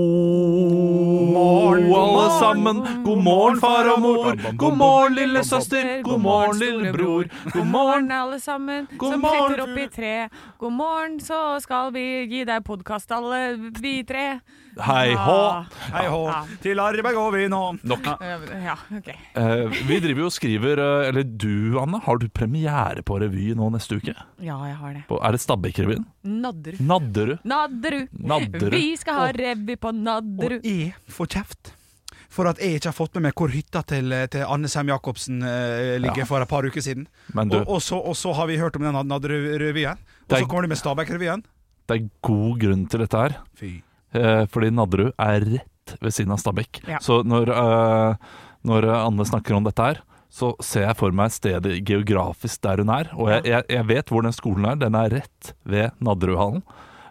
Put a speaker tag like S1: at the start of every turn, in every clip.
S1: God morgen, alle sammen. God morgen, far og mor. God morgen, lille søster. God morgen, lille bror. God morgen.
S2: alle sammen
S1: God
S2: som
S1: morgen,
S2: kletter opp
S1: du.
S2: i tre. God morgen, så skal vi gi deg podkast, alle vi tre.
S1: Hei hå.
S3: Hei hå,
S2: Ja.
S3: til arbeid går vi nå.
S1: Nok.
S2: Ja, øh, ja, ok.
S1: Eh, vi driver jo og skriver eh, Eller du, Anne, har du premiere på revy nå neste uke?
S2: Ja, jeg har det.
S1: På, er det Stabbekrevyen?
S2: Nadderud.
S1: Nadderud?
S2: Nadderud.
S1: Nadderud.
S2: Vi skal ha revy på Nadderud.
S3: Og jeg får kjeft for at jeg ikke har fått med meg hvor hytta til, til Anne Sem Jacobsen eh, ligger
S1: Ja.
S3: for et par uker siden.
S1: Men du,
S3: Og, og, så, og så har vi hørt om den Nadderud-revyen. Og
S1: Det er-
S3: så kommer de med Stabæk-revyen.
S1: det er god grunn til dette her.
S3: Fy.
S1: Eh, fordi Nadderud er rett ved siden av Stabekk.
S2: Ja.
S1: Så når, eh, når Anne snakker om dette her, så ser jeg for meg stedet geografisk der hun er. Og jeg, jeg, jeg vet hvor den skolen er. Den er rett ved Nadderudhallen.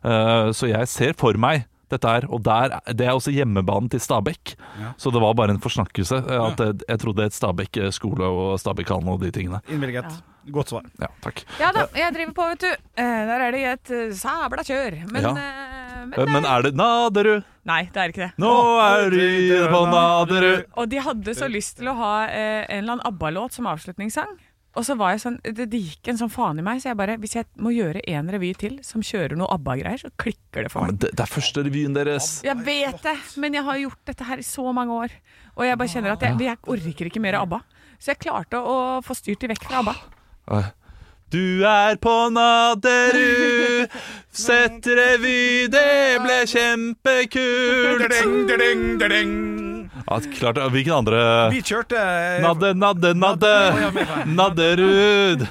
S1: Eh, så jeg ser for meg dette her, og der, det er også hjemmebanen til Stabekk.
S3: Ja.
S1: Så det var bare en forsnakkelse. eh, At jeg, jeg trodde et Stabekk eh, skole og Stabekk-hallen og de tingene.
S3: Innvilget. Godt svar.
S1: Ja, takk.
S2: Ja da, jeg driver på, vet du. Eh, Der er det et eh, sabla kjør. Men,
S1: Ja.
S2: eh,
S1: Eh,
S2: men,
S1: Men er det Nadderud?
S2: Nei, det er ikke det.
S1: Nå er vi på Nadderud!
S2: Og de hadde så lyst til å ha eh, en eller annen ABBA-låt som avslutningssang. Og så var jeg sånn, det, det gikk en sånn faen i meg, så jeg bare Hvis jeg må gjøre en revy til som kjører noe ABBA-greier, så klikker
S1: Ja,
S2: det for meg.
S1: men det, det er første revyen deres.
S2: Jeg vet det, men jeg har gjort dette her i så mange år. Og jeg bare kjenner at jeg, jeg orker ikke mer ABBA. Så jeg klarte å få styrt de vekk fra ABBA.
S1: Du er på Naderud, sett revy, det ble kjempekult.
S3: Ding, ding, ding.
S1: Ja, klart, det. Hvilken andre
S3: Vi kjørte
S1: Nadde, nadde, nadde. Nadderud.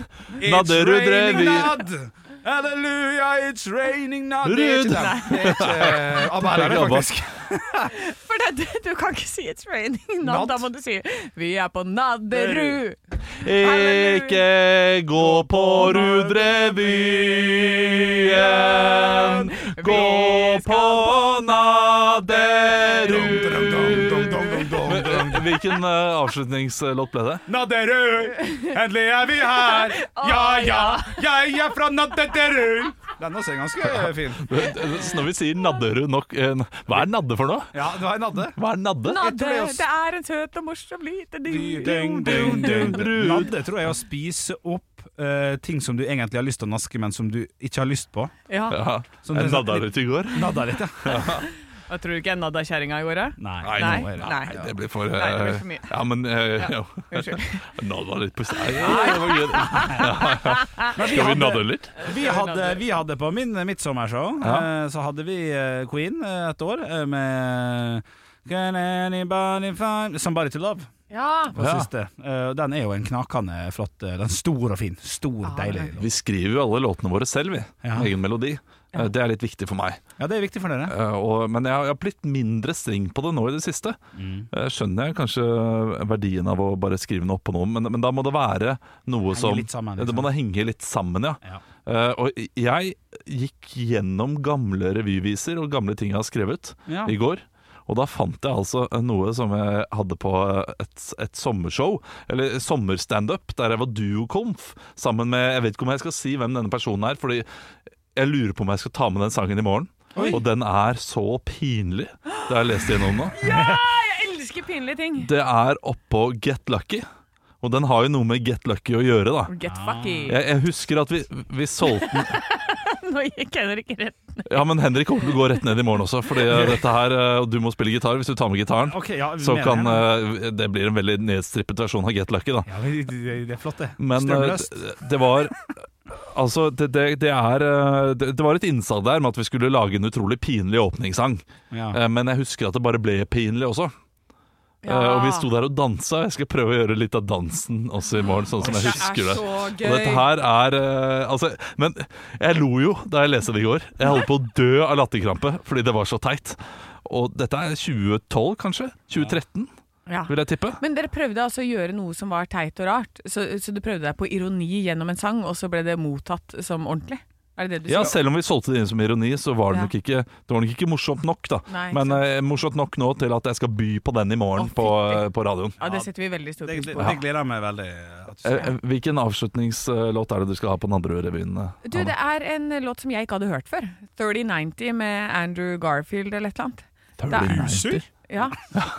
S1: Nadderud
S3: revy.
S1: revy.
S3: Halleluja, it's raining nad. Det er
S1: Rud.
S3: ikke dem. Det er ikke eh, ABBA her, er det
S1: Ikke ABBA.
S3: faktisk.
S2: For det, du, du kan ikke si 'it's raining now'.
S3: Natt.
S2: Da må du si 'vi er på Nadderud'.
S1: Ikke gå på Rudrevyen. Gå på
S3: Dum, dum, dum, dum,
S1: Naderud.
S3: dum, dum, dum, dum.
S1: Hvilken eh, avslutningslåt ble det?
S3: Nadderud, endelig er vi her. Ja ja, jeg er fra Nadderud. Den også er ganske eh, fin.
S1: Så når vi sier Nadderud nok eh, Hva er Nadde for noe?
S3: Ja, det var en Nadde.
S1: Hva er Nadde?
S2: Nadde,
S3: det er oss.
S2: det er en søt og morsom liten
S3: Ding, ding, ding. Nadde tror jeg er å spise opp eh, ting som du egentlig har lyst til å naske, men som du ikke har lyst på.
S2: Ja.
S1: Ja,
S3: Som
S1: jeg
S3: det-
S1: nadda litt i går.
S3: Nadda litt, ja.
S2: Jeg tror du ikke jeg nadda kjerringa i går, jeg?
S3: Nei,
S2: Nei,
S3: nå er det-
S2: nei.
S1: Det blir for,
S2: Nei, det blir
S1: eh,
S2: for mye.
S1: Ja, men eh, ja.
S2: Unnskyld.
S1: Nadda litt på seg. Ja, det var gøy. Ja, ja.
S3: vi
S1: Skal vi
S3: hadde-
S1: nadde litt?
S3: Vi hadde, vi hadde på min midtsommershow,
S1: Ja.
S3: eh, så hadde vi eh, Queen eh, et år eh, med Can anybody find Somebody to love.
S2: Ja.
S3: Hva
S1: Ja.
S3: syns du? Eh, Den er jo en knakende flott eh, Den er stor og fin. Stor, deilig.
S1: Vi skriver jo alle låtene våre selv, vi.
S3: Ja.
S1: Egen melodi. Eh, Det er litt viktig for meg.
S3: Ja, det er viktig for dere.
S1: Eh, Og, men jeg har, jeg har blitt mindre streng på det nå i det siste. Eh, Skjønner jeg kanskje verdien av å bare skrive noe oppå noe, men, men da må det være noe som
S3: litt sammen, liksom.
S1: Det må da henge litt sammen, ja.
S3: Ja.
S1: Eh, og jeg gikk gjennom gamle revyviser og gamle ting jeg har skrevet
S3: Ja.
S1: i går. Og da fant jeg altså noe som jeg hadde på eh, et, et sommershow, eller sommerstandup, der jeg var duokonf sammen med Jeg vet ikke om jeg skal si hvem denne personen er, fordi jeg lurer på om jeg skal ta med den sangen i morgen. Og den er så pinlig, det har jeg lest gjennom nå.
S2: Jeg elsker pinlige ting.
S1: Det er oppå Get Lucky, og den har jo noe med Get Lucky å gjøre, da.
S2: Get fucky.
S1: Jeg, jeg husker at vi, vi solgte den
S2: Nå gikk Henrik rett.
S1: Ja, men Henrik kommer til å gå rett ned i morgen også, fordi eh, dette her eh, Og du må spille gitar hvis du tar med gitaren.
S3: Ok, ja, vi
S1: Så
S3: mener
S1: kan
S3: det.
S1: eh, Det blir en veldig nedstrippet versjon av Get Lucky, da.
S3: ja, men det, det er flott, det.
S1: Men eh,
S3: Strømløst.
S1: det det var Altså, det, det, det er eh, det, det var et innsalg der med at vi skulle lage en utrolig pinlig åpningssang.
S3: Ja.
S1: Eh, Men jeg husker at det bare ble pinlig også. Eh, Og vi sto der og dansa. Jeg skal prøve å gjøre litt av dansen også i morgen, sånn som jeg husker det.
S2: Det
S1: Og dette her er eh, altså, Men jeg lo jo da jeg leste det i går. Jeg holdt på å dø av latterkrampe fordi det var så teit. Og dette er 2012, kanskje? 2013?
S2: Ja.
S1: vil jeg tippe.
S2: Men dere prøvde altså å gjøre noe som var teit og rart. Så, så du prøvde deg på ironi gjennom en sang, og så ble det mottatt som ordentlig? Er det det du
S1: Ja,
S2: sier?
S1: selv om vi solgte det inn som ironi, så var det
S2: Ja.
S1: nok ikke, det var nok ikke morsomt nok, da.
S2: Nei, ikke
S1: Men eh, morsomt nok nå til at jeg skal by på den i morgen
S2: Å,
S1: på, eh,
S2: fytti.
S1: på radioen.
S2: Ja, det setter vi veldig stor
S3: Det,
S2: pris
S3: det,
S2: på.
S3: det gleder jeg meg veldig. At du
S1: Eh,
S3: sier.
S1: eh, Hvilken avslutningslåt er det du skal ha på den andre revyen? eh,
S2: Du,
S1: Anna?
S2: det er en låt som jeg ikke hadde hørt før. 3090 med Andrew Garfield eller et eller annet.
S1: Dirty
S2: det er-
S1: Nasty.
S2: Ja,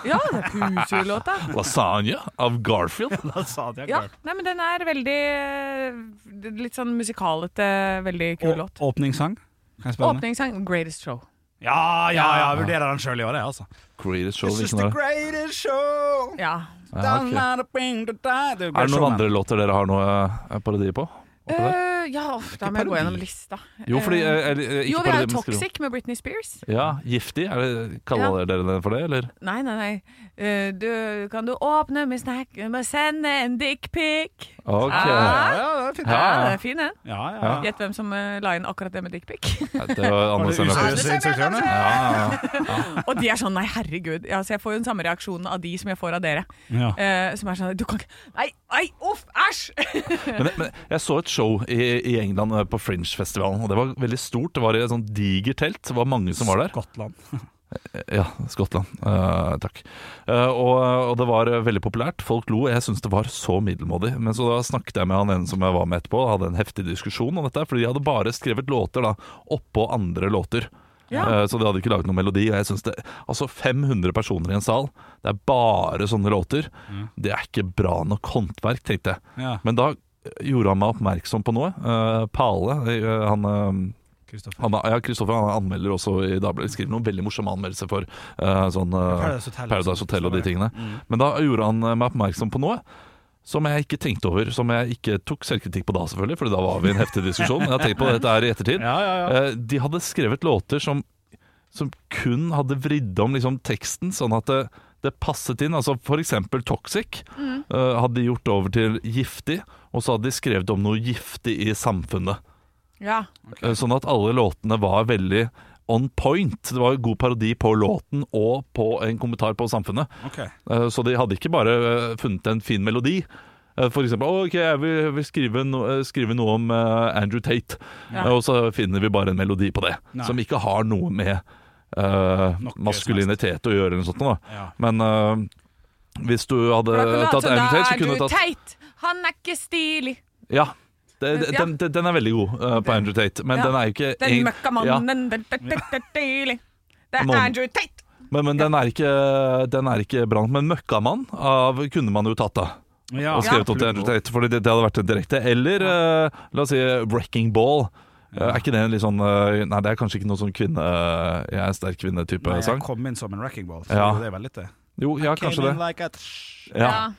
S2: ja det er Pusu-låta.
S1: Lasagne av Garfield?
S3: Da sa jeg
S2: Ja,
S3: klart.
S2: nei, men den er veldig eh, litt sånn musikalete, veldig kul
S3: Og
S2: låt.
S3: Åpningssang? Kan jeg spørre om det?
S2: Åpningssang 'Greatest Show'.
S3: Ja, ja, ja, jeg vurderer den sjøl i år, jeg, altså.
S1: Greatest show,
S3: This is
S1: hvilken
S3: the
S1: er det?
S3: greatest show.
S2: Ja.
S1: Ja, ok.
S3: Down at a ping to die. Det er jo
S1: Er det
S3: great show,
S1: noen
S3: men-
S1: andre låter dere har noe eh, parodi på? Oppå der?
S2: Eh, ja, uff, da må jeg gå
S3: parodi.
S2: gjennom lista.
S1: Jo, fordi
S2: Eh,
S1: eh, eller, eh, ikke
S2: Jo, vi har
S1: parodi,
S2: jo
S1: men skriv om-
S2: Toxic med Britney Spears.
S1: Ja, Giftig? Er det, kaller dere den for det, eller?
S2: Nei, nei, nei. Eh, du, kan du åpne med snakken med å sende en dickpic?
S1: Ok.
S2: Ah.
S3: Ja, det er
S2: Ja,
S3: fint.
S1: Ja, ja.
S2: den er fin, den.
S3: Ja, ja.
S2: Gjett hvem som eh, la inn akkurat det med dickpic.
S1: Det var
S3: Var
S1: Anne
S3: det useriøse
S1: Sennep.
S3: instruktørene?
S1: Ja,
S2: Og de er sånn nei, herregud. Ja, så jeg får jo den samme reaksjonen av de som jeg får av dere.
S3: Ja.
S2: Eh, som er sånn du kan ikke Nei, nei, uff, æsj!
S1: Men, men jeg så et show i, i England eh, på Fringe-festivalen, og det var veldig stort. Det var i et sånt digert telt. Det var mange som var der.
S3: Skottland.
S1: Ja, Skottland. Eh, takk. Eh, og, og det var eh, veldig populært. Folk lo. Jeg syntes det var så middelmådig. Men så da snakket jeg med han ene som jeg var med etterpå, og hadde en heftig diskusjon om dette. Fordi de hadde bare skrevet låter da oppå andre låter. Eh, Så de hadde ikke laget noen melodi. Og jeg synes det Altså 500 personer i en sal, det er bare sånne låter. Det er ikke bra nok håndverk, tenkte jeg.
S3: Ja.
S1: Men da gjorde han meg oppmerksom på noe. Eh, Pale, eh, han, eh,
S3: Kristoffer.
S1: han Ja, Kristoffer han anmelder også i Dagbladet. Skriver noen veldig morsomme anmeldelser for eh, sånn eh,
S3: Paradise Hotel. sånn.
S1: Paradise Hotel og de tingene.
S3: Mm.
S1: Men da gjorde han eh, meg oppmerksom på noe. Som jeg ikke tenkte over, som jeg ikke tok selvkritikk på da, selvfølgelig, for da var vi i en heftig diskusjon. Jeg har tenkt på dette her i ettertid.
S3: Ja, ja, ja.
S1: Eh, De hadde skrevet låter som, som kun hadde vridd om liksom, teksten, sånn at det, det passet inn. Altså for eksempel Toxic eh, hadde de gjort over til giftig, og så hadde de skrevet om noe giftig i samfunnet.
S2: Ja.
S1: Eh, Sånn at alle låtene var veldig on point. Det var god parodi på låten og på en kommentar på samfunnet.
S3: Ok.
S1: Eh, Så de hadde ikke bare eh, funnet en fin melodi. Eh, For eksempel, «Å, ok, jeg vil, jeg vil skrive, no, eh, skrive noe om eh, Andrew Tate,
S2: Ja.
S1: Eh, og så finner vi bare en melodi på det,
S3: Nei.
S1: som ikke har noe med eh,
S3: Nok
S1: maskulinitet å gjøre eller noe sånt. Da.
S3: Ja.
S1: Men eh, hvis du hadde
S2: For da kunne du hatt
S1: tatt
S2: sånn,
S1: Andrew Tate,
S2: Da
S1: så
S2: er
S1: kunne
S2: du
S1: du tatt
S2: teit! Han er ikke stilig!
S1: Ja, det, det,
S2: Ja.
S1: den, den- den er veldig god eh, på Andrew Tate, men
S2: Ja.
S1: den er jo ikke
S2: Den
S1: en- ja,
S2: møkkamannen, den er stilig! Det er
S1: Noen-
S2: Andrew Tate!
S1: men, men den er ikke, den er ikke bra. nok. Men 'Møkkamann' av, kunne man jo tatt, da.
S3: ja.
S1: og skrevet opp til Andrew Tate, fordi det, det hadde vært en direkte. Eller eh, la oss si Wrecking Ball. Eh, er ikke det en litt sånn eh, Nei, det er kanskje ikke noe sånn kvinne Jeg er sterk kvinne-type
S3: Nei, jeg
S1: sang.
S3: kom inn som en wrecking ball. Så
S1: Ja.
S3: Det er veldig det.
S1: Jo, ja, kanskje
S3: Came
S1: det.
S3: in Like a
S1: Ja.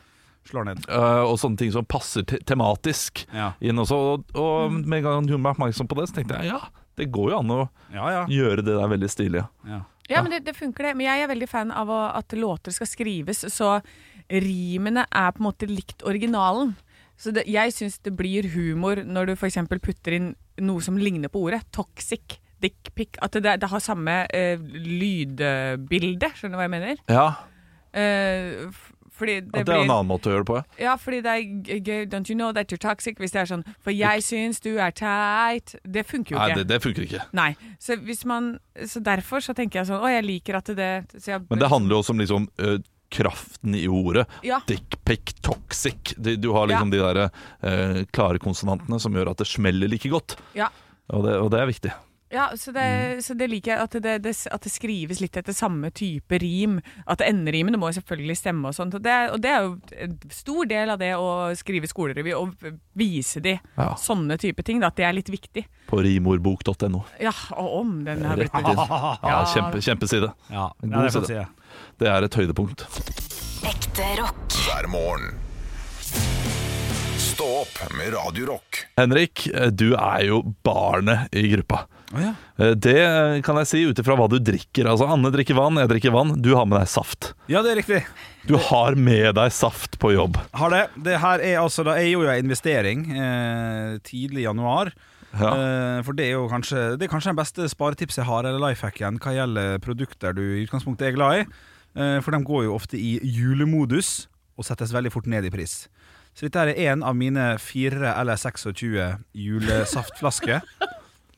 S3: Slår ned.
S1: Eh, og sånne ting som passer te tematisk
S3: Ja.
S1: inn også. Og, og med en gang hun ble oppmerksom på det, så tenkte jeg ja, det går jo an å
S3: Ja, ja.
S1: gjøre det der veldig stilig. ja.
S3: ja.
S2: Ja, men det, det funker det. Men jeg er veldig fan av å, at låter skal skrives, så rimene er på en måte likt originalen. Så det, jeg syns det blir humor når du f.eks. putter inn noe som ligner på ordet. Toxic. Dickpic. At det, det har samme eh, lydbilde, skjønner du hva jeg mener?
S1: Ja,
S2: Eh, f- fordi det,
S1: at det er en
S2: blir,
S1: annen måte å gjøre det på. ja.
S2: ja, fordi det er g- gøy Don't you know that you're toxic? Hvis det er sånn For jeg syns du er teit. Det funker jo
S1: Nei,
S2: ikke.
S1: det, det funker ikke.
S2: Nei, så, hvis man, så derfor så tenker jeg sånn Å, jeg liker at det så jeg,
S1: Men det handler jo også om liksom eh, kraften i ordet.
S2: Ja.
S1: Dickpic, toxic. Du, du har liksom de der eh, klare konsonantene som gjør at det smeller like godt.
S2: Ja.
S1: Og det, og det er viktig.
S2: ja, så det,
S1: Mm.
S2: så det liker jeg. At det, det, at det skrives litt etter samme type rim. At enderimene må jo selvfølgelig stemme og sånt. Og det, er- og det er jo en stor del av det å skrive skolerevy, å vise de
S1: Ja.
S2: sånne type ting. Da, at det er litt viktig.
S1: På rimordbok.no.
S2: Ja, og om den har
S1: Rett
S2: blitt
S1: inn. Ja, kjempe, kjempeside.
S3: ja.
S1: En
S3: ja
S1: god
S3: det får
S1: side.
S3: jeg si. ja.
S1: Det er et høydepunkt.
S4: Ekte rock.
S5: hver morgen. Stå opp med Radio Rock.
S1: Henrik, eh, du er jo barnet i gruppa.
S3: Å, ja.
S1: Eh, Det eh, kan jeg si ut ifra hva du drikker. Altså, Anne drikker vann, jeg drikker vann. Du har med deg saft.
S3: ja, det er riktig.
S1: Du har med deg saft på jobb.
S3: Har det. Det her er altså da, Jeg gjorde jo en investering eh, tidlig i januar.
S1: Ja.
S3: Eh, for det er jo kanskje Det er kanskje den beste sparetipset jeg har, eller life hacken, hva gjelder produkter du i utgangspunktet er glad i. eh, For de går jo ofte i julemodus og settes veldig fort ned i pris. Så dette her er en av mine fire eller 26 julesaftflasker.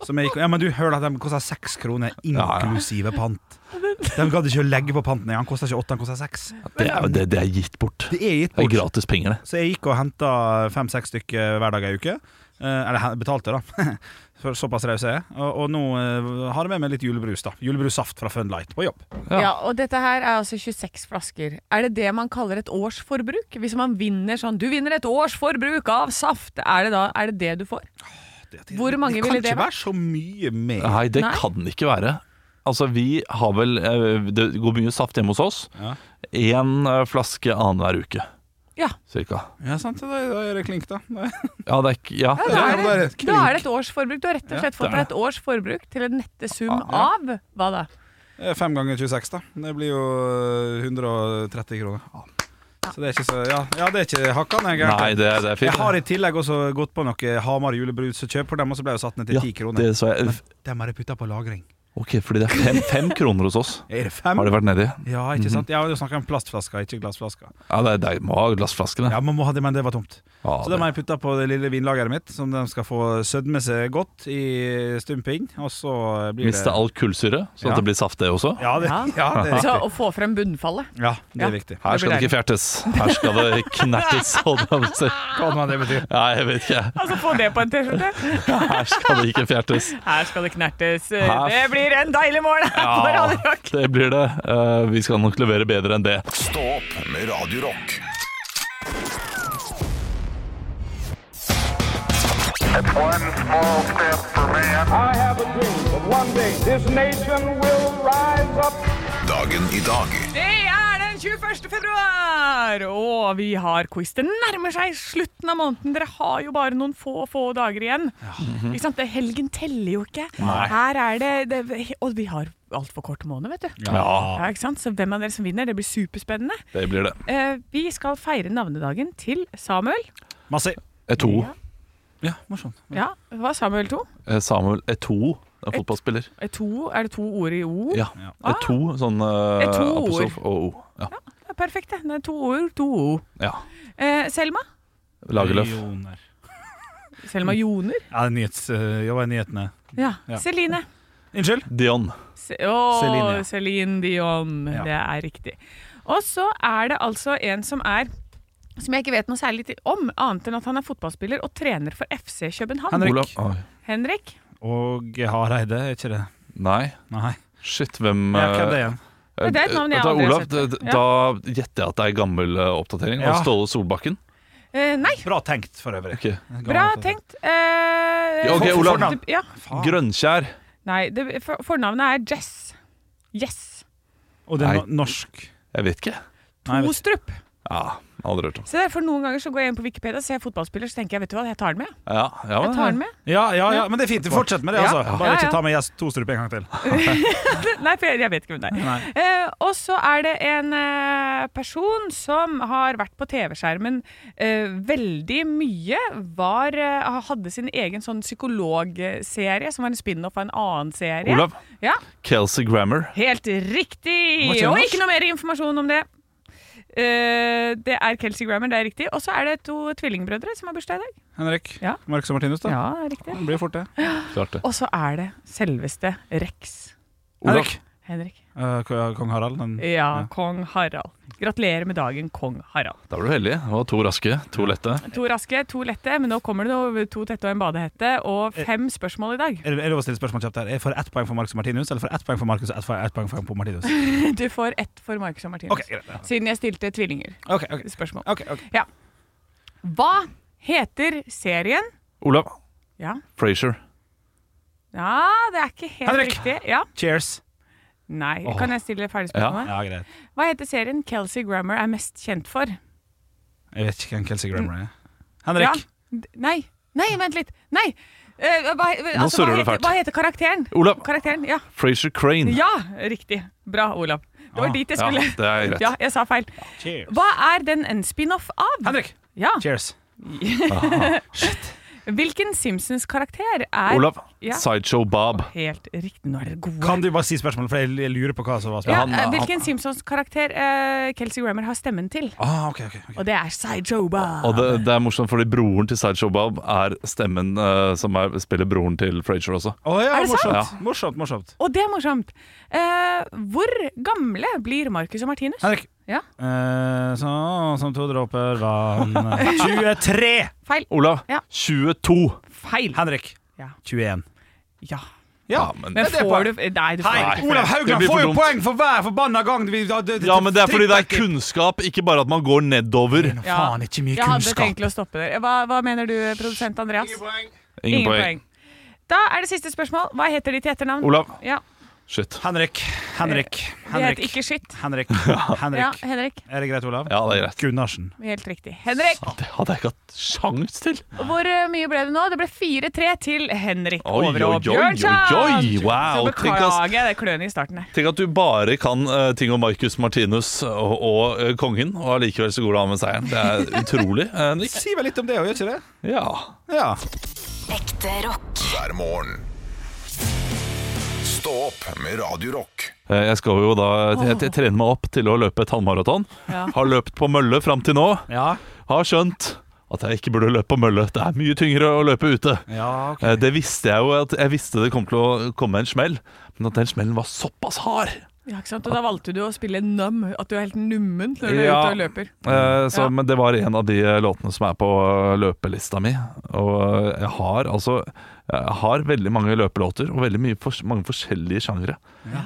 S3: Som jeg, ja, men du hører at de koster seks kroner
S1: Ja, ja.
S3: inklusive pant. De gadd ikke å legge på panten. Han koster ikke åtte, han koster seks.
S1: Det er, det, det er gitt bort.
S3: Det er gitt
S1: Det er
S3: bort.
S1: gratis penger, det.
S3: Så jeg gikk og henta fem-seks stykker hver dag ei uke. Eh, Eller he- betalte, da. For såpass raus er jeg. Og, og nå eh, har jeg med meg litt julebrus. da Julebrussaft fra Fun Light på jobb.
S1: Ja.
S2: Ja. og dette her er altså 26 flasker. Er det det man kaller et års forbruk? Hvis man vinner sånn 'du vinner et års forbruk av saft', er det da er det, det du får? Hvor mange
S3: det kan
S2: ville det
S3: ikke være så mye mer.
S1: Nei, det
S2: Nei.
S1: kan det ikke være. Altså, vi har vel eh, Det går mye saft hjemme hos oss.
S3: Ja.
S1: Én eh, flaske annenhver uke.
S2: Ja.
S1: Cirka.
S3: Ja, sant, da, da er det klink, da. Da er-
S1: Ja, det er ikke Ja.
S2: Ja, da,
S3: Ja,
S2: er
S3: bare
S2: det,
S3: et klink.
S2: da er det et års forbruk. Du har rett og slett fått
S1: det er
S2: deg et års forbruk til en nette sum
S3: Ja.
S2: av hva da?
S3: eh, Fem ganger 26, da. Det blir jo eh, 130 kroner. Så det er ikke så Ja, ja det er ikke hakkende gærent.
S1: Nei, det, det er
S3: Jeg har
S1: fint.
S3: i tillegg også gått på noe Hamar julebrusekjøp, for dem også ble jo satt ned til
S1: Ja,
S3: ti kroner.
S1: det så jeg.
S3: Dem har jeg putta på lagring.
S1: Ok, fordi det er fem, fem kroner hos oss.
S3: Er det fem?
S1: Har det vært nedi?
S3: Ja, ikke
S1: Mhm.
S3: sant? Jeg har jo snakket om plastflasker, ikke glassflasker.
S1: Ja, det, det må ha glassflaskene.
S3: Ja, man må ha det, men det var tomt.
S1: Ja,
S3: Så
S1: det,
S3: det må jeg putte på det lille vinlageret mitt, som de skal få sødme seg godt i stumping. Og så blir det
S1: Miste all kullsyre, så
S3: Ja.
S1: det blir saft, det også.
S3: Ja, det, ja, det er
S2: Så
S3: riktig.
S2: å få frem bunnfallet.
S3: Ja, det
S2: Ja.
S3: er viktig.
S1: Her
S2: Det blir
S1: skal det ikke fjertes. Her skal det knertes. holdt jeg på å si.
S3: Hva nå det betyr?
S1: Nei, jeg vet ikke.
S2: Altså få det på en T-skjorte.
S1: Her skal det ikke fjertes.
S2: Her skal det knertes.
S1: Her-
S2: Det blir en deilig morgen her på
S1: Ja,
S2: Radio Rock.
S1: det blir det. Eh, vi skal nok levere bedre enn det.
S5: Stå opp med Radio Rock.
S6: One small step for man. I have a dream that one day this nation will rise up.
S5: Dagen i dag
S2: Det er den 21. februar, og vi har quiz. Det nærmer seg slutten av måneden. Dere har jo bare noen få få dager igjen. Ikke sant? Det, helgen teller jo ikke. Her er det, det Og vi har altfor kort måned, vet du.
S1: Ja,
S2: Ja, ikke sant? Så hvem av dere som vinner, det blir superspennende.
S1: det blir det.
S2: Eh, vi skal feire navnedagen til Samuel.
S3: Masse.
S1: Eh, to.
S3: Ja, morsomt.
S2: Ja, hva Samuel to?
S1: Eh, Samuel Eto'o, en fotballspiller.
S2: Eh, to? Ah. Er det to ord i O?
S1: Ja. Eto, sånn eh,
S2: Eto'o.
S1: apostrof og O. Ja.
S2: Ja, Perfekt, det. det er to ord, to O.
S1: ja.
S2: Eh, Selma?
S1: Mm. Lagerløf.
S3: Millioner.
S2: Selma Joner?
S3: Ja, det er nyhets, øh, jobber i nyhetene.
S2: Ja.
S3: Ja.
S2: Celine?
S3: Unnskyld?
S1: Dion.
S2: Se Åh,
S3: Celine, ja.
S2: Celine, Dion.
S3: Ja.
S2: Det er riktig. Og så er det altså en som er som jeg ikke vet noe særlig til- om, annet enn at han er fotballspiller og trener for FC København.
S3: Henrik.
S1: Olav. Oi.
S2: Henrik?
S3: Og Hareide, er ikke det?
S1: Nei.
S3: Nei.
S1: Shit, hvem
S3: Ja, hvem
S1: eh,
S3: det er igjen?
S1: Eh,
S2: Det er et navn jeg
S1: vet du hva,
S2: aldri har
S1: Olav,
S2: sett
S1: d-
S2: før.
S1: d-
S2: Ja.
S1: Da gjetter jeg at det er gammel eh, oppdatering.
S3: Ja.
S1: Og Ståle Solbakken.
S2: Eh, nei,
S3: Bra tenkt, for øvrig.
S1: Ok.
S2: bra tenkt. Eh,
S1: Ja, ok,
S2: for-
S1: Olav.
S2: fornavn. Ja.
S3: Faen.
S1: Grønkjær.
S2: Nei, det, for, fornavnet er Jess. Yes.
S3: Og det er no- norsk.
S1: Jeg vet ikke.
S3: Nei, jeg vet-
S2: Ostrup.
S1: Ja, Aldri hørt om.
S2: Så derfor Noen ganger så går jeg inn på Wikipedia og ser jeg fotballspiller, så tenker jeg vet du hva, jeg tar den med.
S1: Ja, ja,
S2: Jeg
S1: men-
S2: tar den med.
S3: Ja, ja, ja, men det er fint. Fortsett med det,
S2: Ja.
S3: altså. Bare
S2: Ja,
S3: ikke
S2: ja.
S3: ta med Gjest Tostrup en gang til.
S2: Nei, for jeg, jeg vet ikke hvem det er.
S3: Nei.
S2: Eh, og så er det en eh, person som har vært på TV-skjermen eh, veldig mye. Var, eh, hadde sin egen sånn psykologserie, som var en spin-off av en annen serie.
S1: Olav.
S2: Ja,
S1: Kelsey Grammer.
S2: Helt riktig!
S3: Hva sier
S2: Og
S3: Lars?
S2: ikke noe mer informasjon om det. Eh, det er Kelsey Grammer, det er riktig. Og så er det to tvillingbrødre som har bursdag i dag.
S3: Henrik.
S2: Ja.
S3: Marcus og Martinus, da.
S2: Ja, det er riktig.
S3: Det blir fort, det.
S1: Klart det.
S2: Og så er det selveste Rex.
S1: Olav.
S3: Henrik.
S2: Henrik.
S3: Eh, k- Kong Harald. Den.
S2: Ja, kong Harald. Gratulerer med dagen, kong Harald.
S1: Da var du heldig. Det var to raske, to lette.
S2: To raske, to lette, men nå kommer det noe, to tette og en badehette, og
S3: Eh.
S2: fem spørsmål i dag.
S3: Er det er det lov å stille spørsmål kjapt her? Er det for ett poeng for Marcus og Martinus, eller for ett poeng for Marcus og ett for- ett poeng for for Martinus?
S2: Du får ett for Marcus og Martinus.
S3: Ok, greit.
S2: Siden jeg stilte tvillinger.
S3: Ok, ok.
S2: Spørsmål.
S3: Ok, ok.
S2: Hva heter serien?
S1: Olav.
S2: Ja,
S1: Frazier.
S2: ja det er ikke helt
S3: Henrik.
S2: riktig. Ja.
S3: Cheers.
S2: Nei.
S1: Åh.
S2: Kan jeg stille ferdig spørsmålet?
S3: Ja, greit.
S2: Hva heter serien Kelsey Grammer er mest kjent for?
S3: Jeg vet ikke hvem Kelsey Grammer er. Henrik.
S2: Mm. Ja. D- Nei. Nei, vent litt. Nei! Eh, hva, altså, hva,
S1: surrer du
S2: heter,
S1: fælt.
S2: hva heter karakteren?
S1: Olav.
S2: Karakteren, ja.
S1: Frazier Crane.
S2: Ja, riktig. Bra, Olav. Det var
S3: Ah,
S2: dit jeg
S1: Ja,
S2: skulle.
S1: det er greit.
S2: Ja, jeg sa feil.
S3: Cheers.
S2: Hva er den en spin-off av?
S3: Henrik.
S2: Ja.
S3: Cheers.
S2: Hvilken Simpsons-karakter er
S1: Olav,
S2: Ja.
S1: Sideshow Bob.
S2: Helt riktig. Nå er dere gode.
S3: Kan du bare si spørsmålet, for jeg lurer på hva som var
S2: ja,
S3: spørsmålet?
S2: eh, hvilken Simpsons-karakter eh, Kelsey Grammer har stemmen til?
S3: Ah, ok, ok, ok.
S2: Og det er Sideshow Bob.
S1: Og det, det er morsomt, fordi broren til Sideshow Bob er stemmen eh, som er, spiller broren til Frasier også.
S3: Å ja,
S2: Er det
S3: morsomt.
S1: sant?
S3: morsomt, morsomt.
S2: Og det er morsomt. Eh, hvor gamle blir Marcus og Martinus?
S3: Henrik.
S2: Ja.
S3: Eh, sånn som to dråper vann 23!
S2: Feil.
S1: Olav,
S2: Ja.
S1: 22.
S2: Feil.
S3: Henrik.
S2: Ja.
S3: 21.
S2: Ja.
S3: Ja,
S1: men-
S2: Men
S3: det er
S2: får
S3: poeng.
S2: du Nei, du får
S3: Hei,
S2: ikke.
S3: Olav
S1: Det
S3: Haugland
S1: blir for
S3: får jo
S1: dumt.
S3: poeng for hver forbanna gang vi
S1: Ja, men det er fordi det er kunnskap, ikke bare at man går nedover.
S3: Nå
S2: Ja.
S3: faen, ikke mye
S2: Jeg hadde
S3: kunnskap.
S2: tenkt til å stoppe der. Hva, hva mener du, produsent Andreas?
S1: Ingen poeng.
S2: Da er det siste spørsmål. Hva heter de til etternavn?
S1: Olav.
S2: Ja,
S1: Shit.
S3: Henrik. Henrik.
S2: De heter
S3: Henrik.
S2: ikke skitt.
S3: Henrik.
S2: Ja,
S3: Henrik.
S2: Henrik.
S3: Er det greit, Olav?
S1: Ja, det er greit.
S3: Gunnarsen.
S2: Helt riktig. Henrik,
S1: Det hadde jeg ikke hatt sjans til.
S2: hvor eh, mye ble det nå? Det ble 4-3 til Henrik
S1: Oi,
S2: Overå
S1: oi, oi,
S2: Bjørnstad.
S1: oi, wow, tenk
S2: Så beklager
S1: oss-
S2: jeg det kløne i starten her.
S1: Tenk at du bare kan eh, ting om Marcus Martinus og, og eh, kongen, og allikevel så går du av med seieren. Det er utrolig, eh, Henrik.
S3: Si vel litt om det òg, gjør ikke det?
S1: Ja.
S3: Ja.
S4: Ekte rock.
S5: hver morgen. Stå opp med Radio Rock.
S1: Eh, Jeg skal jo da jeg, jeg trener meg opp til å løpe et halvmaraton.
S2: Ja.
S1: Har løpt på mølle fram til nå.
S3: Ja.
S1: Har skjønt at jeg ikke burde løpe på mølle. Det er mye tyngre å løpe ute.
S3: ja ok.
S1: Eh, Det visste jeg jo at jeg visste det kom til å komme en smell, men at den smellen var såpass hard
S2: Ja, ikke sant? Og da valgte du å spille num, at du er helt nummen når du er
S1: Ja.
S2: ute og løper.
S1: Eh, så,
S2: Mm. Ja.
S1: Men det var en av de eh, låtene som er på eh, løpelista mi. Og eh, jeg har altså jeg har veldig mange løpelåter og veldig mye fors mange forskjellige sjangere.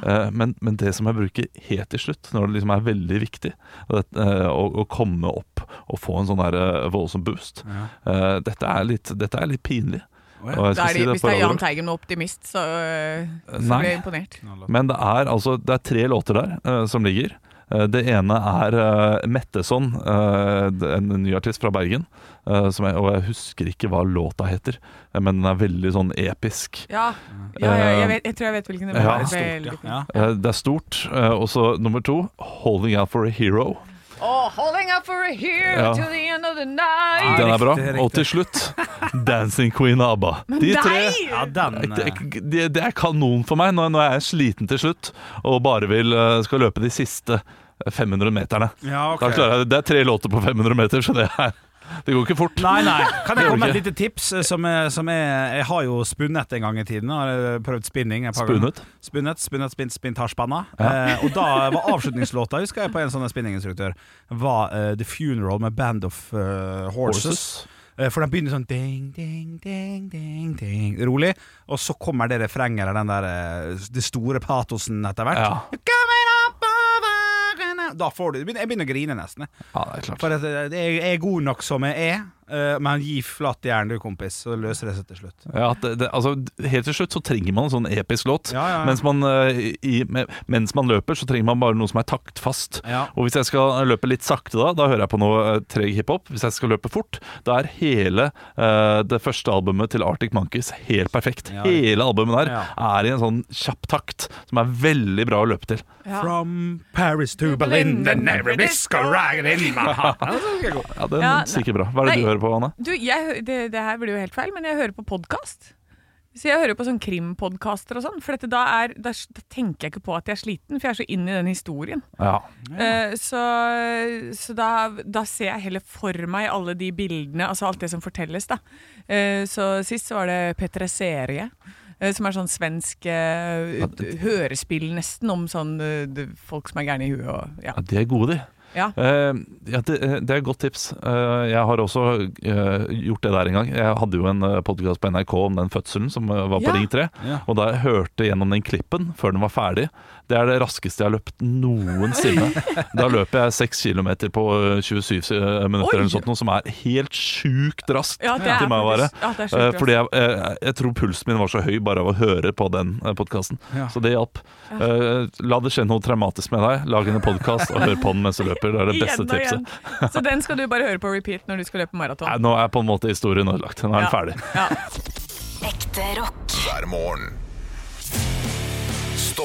S1: Eh, men, men det som jeg bruker helt til slutt, når det liksom er veldig viktig og det, eh, å, å komme opp og få en sånn der, eh, voldsom boost eh, dette, er litt, dette er litt pinlig.
S3: Å
S1: Og jeg
S3: ja.
S2: Da
S1: skal
S2: er
S1: si
S2: de,
S1: det
S2: hvis
S1: for
S2: det er
S1: alle-
S2: Jahn Teigen med optimist, så, øh, så
S1: Nei.
S2: blir jeg imponert.
S1: Men det er altså Det er tre låter der eh, som ligger. Eh, det ene er eh, Metteson, eh, det- en ny artist fra Bergen. eh, som jeg, og jeg husker ikke hva låta heter, eh, men den er veldig sånn episk.
S2: Ja, ja, ja jeg, vet, jeg tror jeg vet hvilken det
S1: Eh, Ja.
S2: er.
S3: Stort,
S2: Veldig
S3: ja.
S2: fint.
S3: Ja.
S1: Eh, det er stort. eh, og så nummer to, 'Holding Out for a Hero'.
S2: Oh, holding up for a hero
S1: Ja.
S2: till the end of the night.
S1: Den er bra.
S3: riktig, riktig.
S1: Og til slutt 'Dancing Queen ABBA'. De tre
S2: Nei!
S3: ja, den
S1: det,
S3: eh,
S1: det, det er kanon for meg når, når jeg er sliten til slutt og bare vil, eh, skal løpe de siste 500 meterne.
S3: eh, Ja, ok.
S1: Da klarer jeg, det er tre låter på 500 meter, så det, er, det går ikke fort.
S3: Nei, nei. Kan jeg komme med et
S1: Gjør
S3: lite tips? eh, Som er, som er, jeg har jo spunnet en gang i tiden. Har eh, prøvd spinning. et par ganger.
S1: Spunnet?
S3: Spunnet, spunnet, spint, spint, har spanna. Eh, og da var avslutningslåta, husker jeg på en sånn spinninginstruktør, var eh, The Funeral med Band of eh, Horses. Eh, For den begynner sånn ding, ding, ding, ding, ding, rolig. Og så kommer det refrenget eller den der, eh, det store patosen etter hvert.
S1: Ja.
S3: You're coming up over and out. Da får du, jeg begynner- jeg begynner å grine nesten. jeg.
S1: Ja, det er klart.
S3: For at eh, jeg jeg er god nok som jeg er, eh, men gi flatt jern du, kompis, så løser det seg til slutt.
S1: Ja, at det, det, altså, helt til slutt så trenger man en sånn episk låt.
S3: Ja, ja, ja.
S1: Mens, man, eh, i, med, mens man løper, så trenger man bare noe som er taktfast.
S3: Ja.
S1: Og hvis jeg skal eh, løpe litt sakte, da Da hører jeg på noe eh, treg hiphop. Hvis jeg skal løpe fort, da er hele eh, det første albumet til Arctic Monkeys helt perfekt.
S3: Ja.
S1: Hele albumet der
S3: Ja.
S1: er i en sånn kjapp takt som er veldig bra å løpe til.
S2: Ja.
S3: From Paris to Berlin, the never disco rag in my heart. Ja, så skal jeg gå.
S1: Ja, den
S2: Ja,
S1: er sikkert bra. Hva er det du
S2: nei.
S1: hører på, Anne?
S2: Du, jeg, hø- det, det her blir jo helt feil, men jeg hører på podkast. Så jeg hører på sånn krimpodkaster og sånn, for dette, da, er, da, s- da tenker jeg ikke på at jeg er sliten, for jeg er så inne i den historien.
S1: Ja.
S2: Eh, så så da, da ser jeg heller for meg alle de bildene, altså alt det som fortelles, da. Eh, så sist så var det Petra Serie. eh, Som er sånn svensk eh, d- hørespill, nesten, om sånn eh, d- folk som er gærne i huet og ja.
S1: ja, de er gode, de.
S2: ja.
S1: Eh, ja, det, det er et godt tips. Eh, jeg har også eh, gjort det der en gang. Jeg hadde jo en podkast på NRK om den fødselen som eh, var på
S2: Ja.
S1: Ring 3.
S3: Ja.
S1: Og da jeg hørte gjennom den klippen før den var ferdig, det er det raskeste jeg har løpt noensinne. da løper jeg 6 km på eh, 27 se- minutter,
S2: Oi!
S1: eller noe sånt, noe som er helt sjukt raskt
S2: Ja, det er
S1: til meg å være.
S2: faktisk- ja, det er sjukt
S1: Eh,
S2: raskt.
S1: fordi jeg, eh, jeg tror pulsen min var så høy bare av å høre på den podkasten.
S3: Ja.
S1: Så det hjalp. Eh, la det skje noe traumatisk med deg. Lag en podkast og hør på den mens du løper. Det er det beste
S2: Igjen og igjen.
S1: tipset.
S2: Så den skal du bare høre på repeat når du skal løpe maraton.
S1: Nei, nå er på en måte historien ødelagt. Nå er den
S2: Ja.
S1: ferdig.
S2: Ja.
S4: Ekte rock.
S5: hver morgen. Stå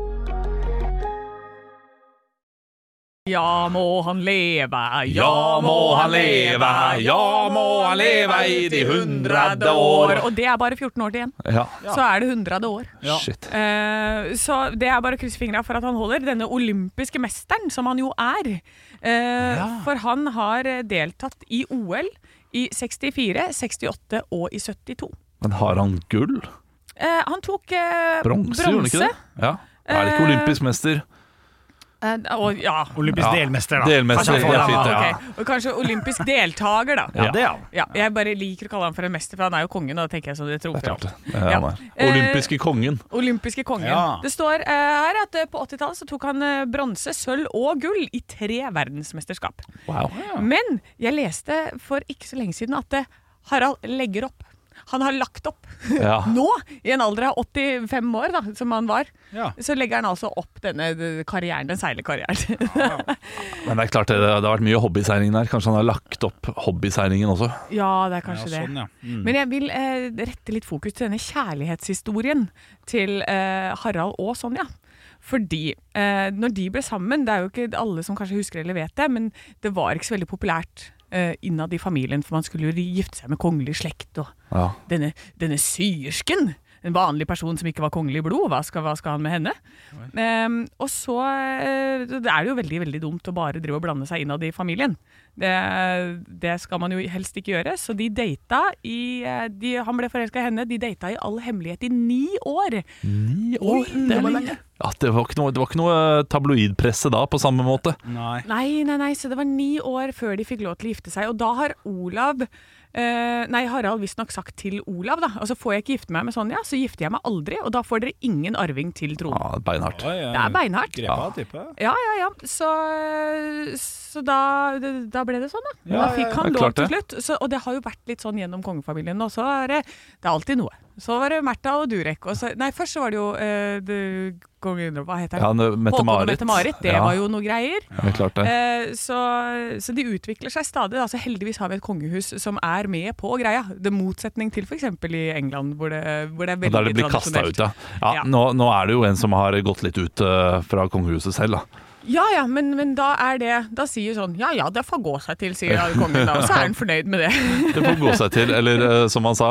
S2: Ja, må han leve, Og det er bare 14 år til igjen.
S1: Ja.
S2: Så er det 100. år.
S1: Shit.
S2: Eh, så det er bare å krysse fingra for at han holder denne olympiske mesteren, som han jo er. Eh, For han har eh, deltatt i OL i 64, 68 og i 72.
S1: Men har han gull?
S2: Eh, han tok eh,
S1: Bronse, gjorde han ikke det? Ja. Er det ikke
S2: Eh,
S1: olympisk mester?
S2: Eh, og, ja.
S3: Olympisk
S1: Ja.
S3: delmester, da.
S1: Delmester,
S3: Kanskje han får
S1: det er
S3: den,
S1: fint,
S3: da.
S1: ja.
S2: ok. Og kanskje olympisk deltaker, da.
S3: Ja, det, ja.
S2: Ja, jeg bare liker å kalle han for en mester, for han er jo kongen. Og da tenker jeg sånn, det
S1: Det er
S2: trumfer
S1: klart det.
S2: alt.
S1: det. er
S2: Ja. Eh,
S1: han der. Olympiske kongen.
S2: Olympiske kongen.
S3: Ja.
S2: Det står eh, her at eh, på 80-tallet så tok han eh, bronse, sølv og gull i tre verdensmesterskap.
S1: Wow.
S2: Men jeg leste for ikke så lenge siden at eh, Harald legger opp. Han har lagt opp.
S1: Ja.
S2: Nå, i en alder av 85 år, da, som han var,
S3: Ja.
S2: så legger han altså opp denne eh, karrieren, den seilerkarrieren.
S1: Men det er klart det, det har vært mye hobbyseiling der. Kanskje han har lagt opp hobbyseilingen også.
S2: ja, det er kanskje det.
S3: sånn, ja. Mm.
S2: Men jeg vil eh, rette litt fokus til denne kjærlighetshistorien til eh, Harald og Sonja. Fordi eh, når de ble sammen, det er jo ikke alle som kanskje husker eller vet det, men det var ikke så veldig populært eh, innad i familien, for man skulle jo gifte seg med kongelig slekt og
S1: Ja.
S2: denne, denne syersken. En vanlig person som ikke var kongelig i blod, hva skal, hva skal han med henne? Ehm, og så eh, det er det jo veldig veldig dumt å bare drive og blande seg innad i familien. Det, det skal man jo helst ikke gjøre. Så de data i eh, de, Han ble forelska i henne, de data i all hemmelighet i ni år.
S1: Ni år, det
S2: var
S1: var
S2: lenge.
S1: lenge. Ja, det var ikke noe, det var ikke noe eh, tabloidpresse da, på samme måte.
S3: Nei.
S2: Nei, nei, nei, så det var ni år før de fikk lov til å gifte seg. Og da har Olav eh, Nei, Harald visstnok sagt til Olav, da. Altså, får jeg ikke gifte meg med Sonja, så gifter jeg meg aldri, og da får dere ingen arving til tronen.
S1: Ja, Beinhardt.
S2: Det er beinhardt.
S3: Grepa, tipper jeg.
S2: Ja, ja, ja. Så, så da, da ble det sånn, da.
S3: Ja,
S2: da fikk han
S1: ja,
S2: lov
S1: klart
S2: til slutt. Så, og det har jo vært litt sånn gjennom kongefamilien nå. Så er det, det er alltid noe. Så var det Märtha og Durek. Og så, nei, først så var det jo eh, det- kongen Hva heter
S1: Ja,
S2: han? Håkon og
S1: Mette-Marit.
S2: Mette-Marit. Det
S1: Ja,
S2: var jo noe greier.
S1: ja, det er klart det.
S2: Eh, Så, så de utvikler seg stadig. Da. Så heldigvis har vi et kongehus som er med på greia. Det motsetning til f.eks. i England, hvor det, hvor det er
S1: Og
S2: veldig
S1: der det blir kasta ut,
S2: tradisjonelt.
S1: ja.
S2: Ja.
S1: ja nå, nå er det jo en som har gått litt ut eh, fra kongehuset selv, da.
S2: Ja ja, men, men da er det Da sier sånn Ja ja, det får gå seg til, sier kongen da. Og så er han fornøyd med det.
S1: Det får gå seg til, eller eh, som han sa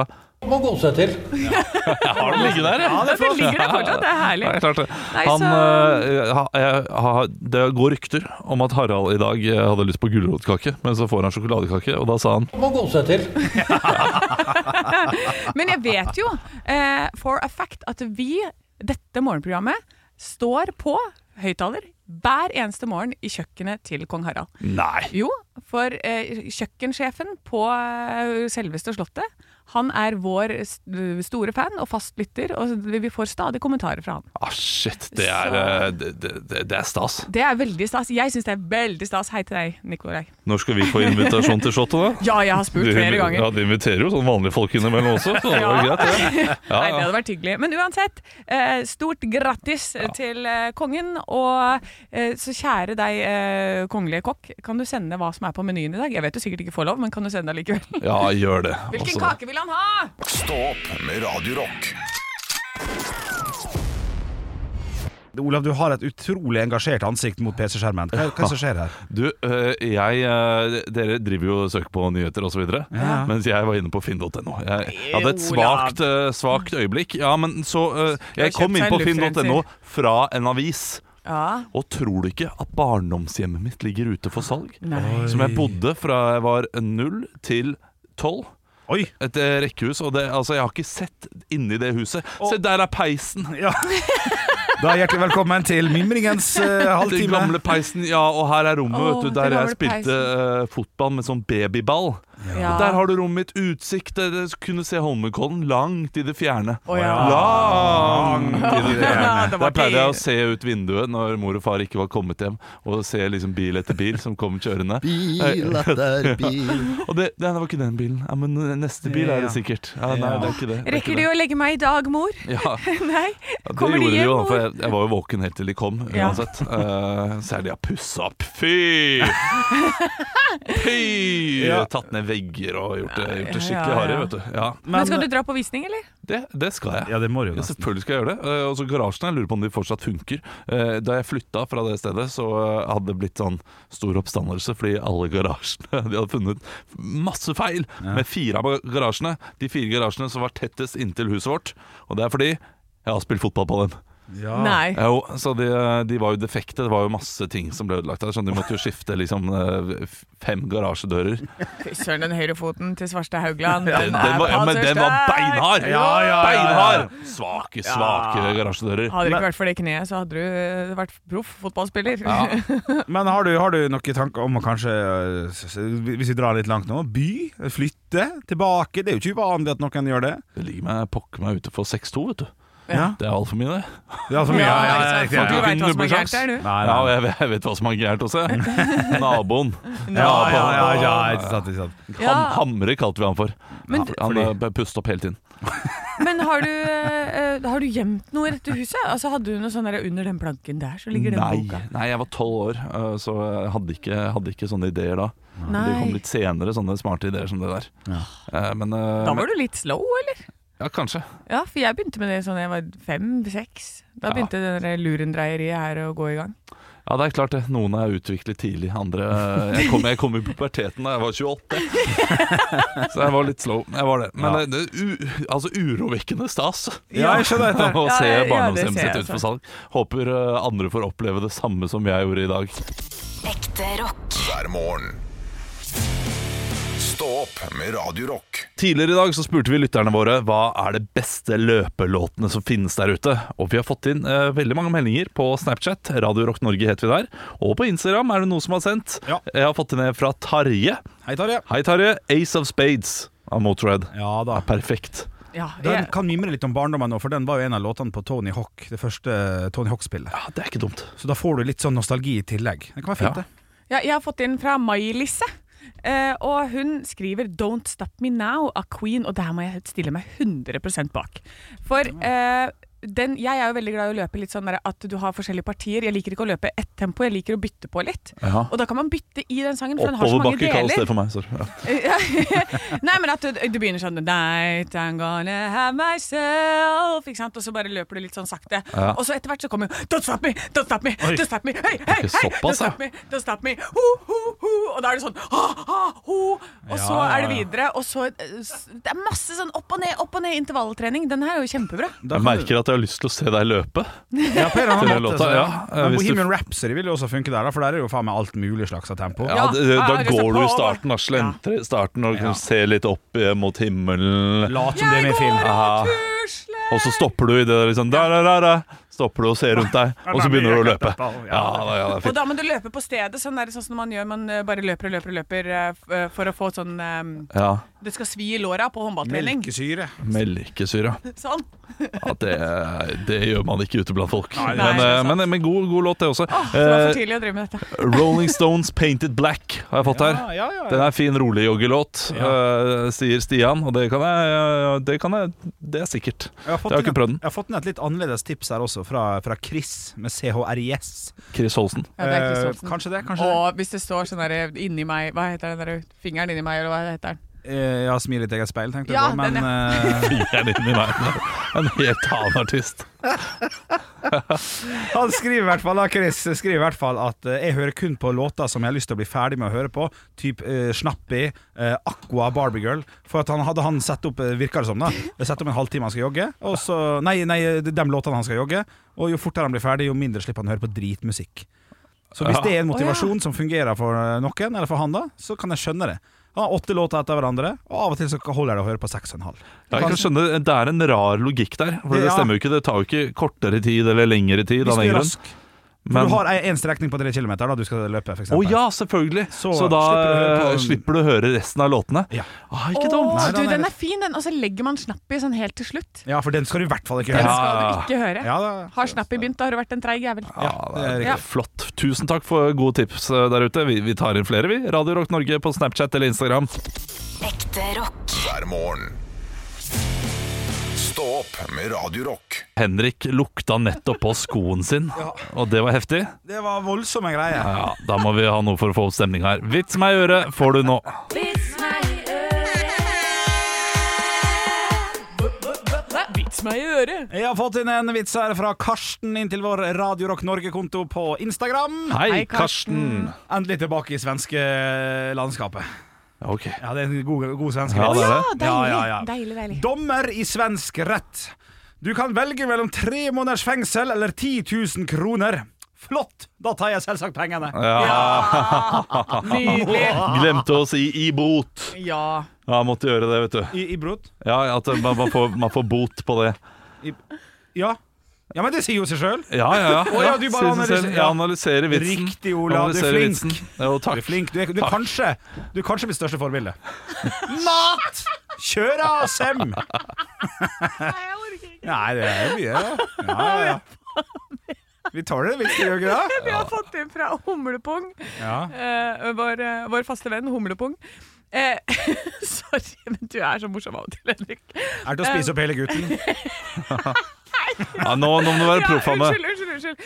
S7: Må gå seg til.
S1: Jeg har den ligge der, ja.
S2: Det ligger der fortsatt, det er herlig.
S1: Ja, det er klart det.
S2: Nei,
S1: Han,
S2: så-
S1: eh, ha, jeg, ha, det går rykter om at Harald i dag eh, hadde lyst på gulrotkake, men så får han sjokoladekake, og da sa han
S7: Må gå seg til.
S2: Men jeg vet jo eh, for a fact at vi, dette morgenprogrammet, står på høyttaler hver eneste morgen i kjøkkenet til kong Harald.
S1: nei.
S2: Jo, for eh, kjøkkensjefen på eh, selveste slottet, han er vår s- store fan og fastlytter, og vi får stadig kommentarer fra han.
S1: Ah, shit, det er,
S2: Så-
S1: eh, det, det- det, det er stas.
S2: Det er veldig stas. Jeg syns det er veldig stas. Hei til deg, Nikolai.
S1: Når skal vi få invitasjon til Shotto, da?
S2: Ja, jeg har spurt flere
S1: Ja,
S2: ganger.
S1: De inviterer jo sånn vanlige folk innimellom også, så det var
S2: Ja.
S1: greit, det. Ja,
S2: Nei, det
S1: ja.
S2: hadde vært hyggelig. Men uansett, eh, stort grattis eh, til eh, kongen. Og eh, så kjære deg, eh, kongelige kokk, kan du sende hva som er på menyen i dag? Jeg vet du sikkert ikke får lov, men kan du sende det likevel?
S1: ja, gjør det. Altså,
S2: Hvilken
S1: Også-
S2: kake vil han ha?
S5: Stå opp med Radio Rock.
S3: Olav, du har et utrolig engasjert ansikt mot PC-skjermen. Hva, hva er det som skjer her?
S1: Du, øh, jeg, øh, dere driver jo og søker på nyheter og så videre, mens jeg var inne på finn.no. Jeg hadde et
S2: Olav.
S1: svagt, øh, svagt øyeblikk. Ja, men så øh, Jeg
S2: kjøpt
S1: kom inn
S2: seg
S1: på
S2: en
S1: finn.no
S2: luftrenser.
S1: fra en avis.
S2: Ja.
S1: Og tror du ikke at barndomshjemmet mitt ligger ute for salg?
S2: Nei.
S1: Som jeg bodde fra jeg var null til tolv.
S3: Oi!
S1: Et eh, rekkehus, og det, altså, jeg har ikke sett inni det huset. Se, der er peisen!
S3: Ja. Da er Hjertelig velkommen til mimringens eh,
S1: Den
S3: halvtime.
S1: gamle peisen, ja, og her er rommet
S2: Åh,
S1: vet du,
S2: den
S1: der jeg
S2: gamle
S1: spilte eh, fotball med sånn babyball.
S2: Ja.
S1: Der har du rommet mitt. Utsikt. der Jeg kunne se Holmenkollen langt i det fjerne.
S2: Å,
S8: Ah.
S2: ja.
S1: Langt i det fjerne.
S2: Ja, det var
S1: Der pleide jeg
S2: det.
S1: å se ut vinduet når mor og far ikke var kommet hjem, og se liksom bil etter bil som kom kjørende.
S8: Bil etter bil.
S1: Og det, det var ikke den bilen. Ja, men eh, neste bil er det sikkert. Ja, nei, det er ikke det. det, er ikke
S2: Rekker de å legge meg i dag, mor?
S1: Ja.
S2: Nei.
S1: Ja, det
S2: Kommer de
S1: gjorde de
S2: hjem,
S1: jo,
S2: mor?
S1: for jeg, jeg var jo våken helt til de kom
S2: Ja.
S1: uansett. Eh, så er de har pussa opp. Fy! Fy!
S3: Ja.
S1: Tatt ned vegger og gjort det, gjort det
S2: Ja, ja,
S1: skikkelig harry,
S2: ja.
S1: vet du. Ja,
S2: Men skal du dra på visning, eller?
S1: det, det skal jeg.
S3: Ja, det må du jo
S1: Ja,
S3: nesten.
S1: selvfølgelig skal jeg gjøre det. Eh, Og så garasjen, jeg lurer på om de fortsatt funker. Eh, Da jeg flytta fra det stedet, så eh, hadde det blitt sånn stor oppstandelse, fordi alle garasjene De hadde funnet masse feil med fire av garasjene. De fire garasjene som var tettest inntil huset vårt. Og det er fordi jeg har spilt fotball på dem. Ah.
S2: Nei.
S1: Jo, så de, de var jo defekte. Det var jo masse ting som ble ødelagt der, så de måtte jo skifte liksom eh, f- fem garasjedører.
S2: Fy Søren, den høyrefoten til Svarstad Haugland.
S1: Den, den, var, ja, men den var beinhard!
S3: Ja, ja, ja, ja.
S1: Beinhard! Svake, svake garasjedører.
S2: Hadde det ikke vært for det kneet, så hadde du eh, vært proff fotballspiller.
S3: Men har du, har du noen tanker om å kanskje, eh, s- s- hvis vi drar litt langt nå, by? Flytte? Tilbake? Det er jo ikke uvanlig at noen gjør det.
S1: Det ligger meg pokker meg ute for 6-2, vet du.
S3: Ja.
S1: Det er altfor mye, det.
S3: Det er altså mye. Ja, ja, ja,
S2: ikke sant? Du
S3: ja, ja.
S2: vet hva som er
S1: nubbesjans.
S2: gærent der, du.
S3: Nei,
S1: Ja, og
S3: nei.
S1: jeg, jeg vet hva som er gærent også. jeg. Naboen.
S3: Ja,
S1: Naboen.
S3: ja, ja, ja, ikke sant, ikke sant.
S1: Ham,
S2: Ja.
S1: hamre kalte vi han for.
S2: Men
S1: Ja, han eh, pustet opp hele tiden.
S2: Men har du, eh, har du gjemt noe i dette huset? Altså, hadde du noe sånn der under den planken der, så ligger den
S1: Nei,
S2: boka?
S1: nei, jeg var tolv år, eh, så jeg hadde ikke, hadde ikke sånne ideer da. Det kom
S2: Nei.
S1: litt senere, sånne smarte ideer som det der. Eh, Men, eh,
S2: Da
S1: men-
S2: var du litt slow, eller?
S1: ja, kanskje.
S2: Ja, for jeg begynte med det sånn jeg var fem-seks. Da
S1: Ja.
S2: begynte det der lurendreieriet her å gå i gang.
S1: Ja, det er klart det. Noen er utviklet tidlig, andre eh, Jeg kom, jeg kom i puberteten da jeg var 28. Så jeg var litt slow. Jeg var det. Men
S3: Ja.
S1: eh, det, er u, altså urovekkende stas.
S3: Ja, jeg skjønner dette.
S1: Å se
S2: Ja, ja, det
S1: barndomshjemmet
S2: ser jeg
S1: sitt ut
S2: også.
S1: for salg. Håper eh, andre får oppleve det samme som jeg gjorde i dag.
S4: Ekte rock.
S5: hver morgen. Stå opp med Radio Rock.
S1: Tidligere i dag så spurte vi lytterne våre hva er det beste løpelåtene som finnes der ute. Og vi har fått inn eh, veldig mange meldinger på Snapchat, Radio Rock Norge heter vi der. Og på Instagram er det noe som har sendt.
S3: Ja.
S1: Jeg har fått inn en fra Tarje.
S3: Hei, Tarje.
S1: Hei Tarje, Ace of Spades av Motörhead.
S3: Ja da.
S1: Perfekt.
S2: Ja,
S3: Den
S2: jeg-
S3: kan mimre litt om barndommen nå, for den var jo en av låtene på Tony Hawk, det første Tony Hawk-spillet.
S1: Ja, det er ikke dumt.
S3: Så da får du litt sånn nostalgi i tillegg. Det kan være fint,
S1: Ja.
S3: det.
S2: Ja, jeg har fått inn fra Mai-Lisse. eh, og hun skriver 'Don't Stop Me Now' av Queen, og der må jeg stille meg 100 bak. For eh, den, jeg er jo veldig glad i å løpe litt sånn der at du har forskjellige partier. Jeg liker ikke å løpe ett tempo, jeg liker å bytte på litt.
S1: Ja.
S2: Og da kan man bytte i den sangen, for den har så mange
S1: Oppoverbakke kalles det
S2: deler.
S1: for meg. Sorry. Ja.
S2: Nei, men at du, du begynner sånn Night I'm gonna have myself Ikke sant? Og så bare løper du litt sånn sakte.
S1: Ja.
S2: Og så etter hvert så kommer Don't stop me, don't stop me, don't stop me Hei, hei, hei,
S1: såpass,
S2: don't stop me, don't stop me ho, ho, ho. Og da er det sånn ha, ha, ho. Og så
S3: Ja, ja,
S2: er det
S3: ja.
S2: videre. Og så eh, s- Det er masse sånn opp og ned, opp og ned intervalltrening. Den her er jo kjempebra.
S3: Da
S1: Jeg
S3: kan du-
S1: merker at jeg har lyst til å se deg løpe.
S3: Ja, på en eller annen
S1: Til
S3: måte.
S1: låta,
S3: så-
S1: ja.
S3: Men
S1: Hvis du-
S3: Bohemian Rhapsody vil jo også funke der, da, for der er det jo faen meg alt mulig slags av tempo.
S1: Ja,
S2: Ja,
S1: det, da
S2: jeg har lyst til
S1: går
S2: å
S1: du i
S2: prøve.
S1: starten, da. Slentrer i starten og
S3: Ja.
S1: kan se litt opp eh, mot himmelen.
S3: Lat som det er med i film.
S1: Ja.
S2: Tusle!
S1: Og så stopper du i det der liksom da, da, da, da. Stopper du og ser rundt deg, og så begynner du å løpe. Ja, da, ja, det er
S2: Og
S1: fint.
S2: da må du løpe på stedet, sånn, der, sånn som man gjør. Man eh, bare løper og løper og løper eh, f- eh, for å få sånn eh,
S1: Ja,
S2: Det skal svi i låra på håndballtrening.
S3: Melkesyre.
S1: Melkesyre.
S2: Sånn.
S1: Ja, det, det gjør man ikke ute blant folk.
S2: nei,
S1: Men,
S2: det er
S1: eh,
S2: sant.
S1: men, men god, god låt, det også.
S2: Åh, det var for
S1: Eh,
S2: tidlig å drive med dette.
S1: Rolling Stones 'Painted Black' har jeg fått her.
S3: Ja, ja, ja.
S1: Den er fin rolig-joggelåt, eh, sier Stian. Og det kan jeg, ja, det kan jeg Det er sikkert.
S3: Jeg har, fått
S1: Jeg har
S3: inn
S1: ikke prøvd
S3: et-
S1: den.
S3: jeg har fått inn et litt annerledes tips her også, fra, fra Chris med CHRIS.
S1: Chris Holsen.
S2: Ja, det er Chris
S3: Eh,
S2: Olsen.
S3: kanskje det, kanskje
S2: Og hvis det står sånn der inni meg Hva heter den der fingeren inni meg, eller hva heter den?
S3: det. Eh, ja, smil i ditt eget speil, tenkte jeg
S2: Ja,
S3: på. Men
S2: den
S3: eh,
S1: Fingeren inn i meg. En helt annen artist.
S3: han skriver i hvert fall da, Chris skriver i hvert fall at eh, jeg hører kun på låter som jeg har lyst til å bli ferdig med å høre på. Typ eh, Snappi, eh, Aqua, Barbie Girl. For at han hadde han satt opp, eh, virker det som, da. Satt opp en halvtime han skal jogge. Og så, nei, nei, de låtene han skal jogge. Og jo fortere han blir ferdig, jo mindre slipper han å høre på dritmusikk. Så hvis
S1: Ja.
S3: det er en motivasjon som fungerer for eh, noen, eller for han, da, så kan jeg skjønne det. Han har åtte låter etter hverandre, og av og til så holder det å høre på seks og en halv.
S1: Ja, jeg kan skjønne, Det er en rar logikk der. For Det
S3: Ja.
S1: stemmer jo ikke, det tar jo ikke kortere tid eller lengre tid.
S3: Hvis
S1: av
S3: du
S1: den
S3: er
S1: grunn.
S3: rask. For
S1: Men-
S3: du har ei- en strekning på tre kilometer da du skal løpe, f.eks.
S1: Å ja, selvfølgelig! Så,
S3: Så
S1: da eh,
S3: slipper du å høre på-
S1: slipper du å høre resten av låtene.
S3: Ja.
S1: Ah, ikke dumt!
S2: Å,
S3: Nei,
S2: du,
S3: den er
S2: den
S3: litt-
S2: er fin, den. Og så legger man snapp i sånn helt til slutt.
S3: ja, for den skal du i hvert fall ikke
S2: Den
S3: høre.
S2: skal du ikke høre.
S3: Ah, Ja, da.
S2: Har snapp i begynt, da har du vært en treig jævel.
S3: Ja, det er
S2: Ja.
S3: riktig.
S1: Flott. Tusen takk for gode tips eh, der ute. Vi, vi tar inn flere, vi. Radio Rock Norge på Snapchat eller Instagram.
S4: Ekte rock.
S5: hver morgen. Stå opp med Radio Rock.
S1: Henrik lukta nettopp på skoen sin, og det var heftig.
S3: Det var voldsomme greier.
S1: Ja, Da må vi ha noe for å få opp stemning her. Vits meg i øret får du nå.
S2: Vits meg i øret!
S3: Jeg har fått inn en vits her fra Karsten inn til vår Radio Rock Norge-konto på Instagram.
S1: Hei,
S2: Hei,
S1: Karsten.
S3: Endelig tilbake i svenske landskapet.
S1: Ok.
S3: Ja, det er en god, god svensk
S1: Ja,
S3: vits.
S1: det er
S2: Ja,
S1: det.
S2: deilig.
S3: Ja, ja, ja.
S2: deilig, deilig.
S3: Dommer i svensk rett. Du kan velge mellom tre måneders fengsel eller 10 000 kroner. Flott! Da tar jeg selvsagt pengene.
S2: Nydelig.
S1: Glemte å si i bot.
S2: Ja.
S1: Ja, måtte gjøre det, vet du.
S3: I, i brot?
S1: Ja, at man, man, får, man får bot på det.
S3: Ja. ja, men det sier jo seg sjøl.
S1: Ja, ja, ja.
S3: Å, ja, du
S1: Sier
S3: bare
S1: seg selv.
S3: analyser-
S1: Jeg analyserer vitsen.
S3: Riktig, Ola. Du er
S1: Analyserer
S3: flink.
S1: vitsen. Jo,
S3: Du
S1: takk.
S3: er flink. Du er, du er kanskje, du er kanskje mitt største forbilde. Mat! Kjør av, Sem! Nei, det er mye, da. Ja, ja, ja. Vi tar det, vi gjør ikke det?
S2: Vi har fått inn fra Humlepung,
S3: Ja.
S2: eh, vår, eh, vår faste venn Humlepung. Eh, sorry, men du er så morsom av og til, Henrik.
S3: Er det til å spise opp hele gutten?
S1: Ja, nå, nå må du være
S2: Ja,
S1: proff, Anne.
S2: unnskyld, unnskyld, unnskyld.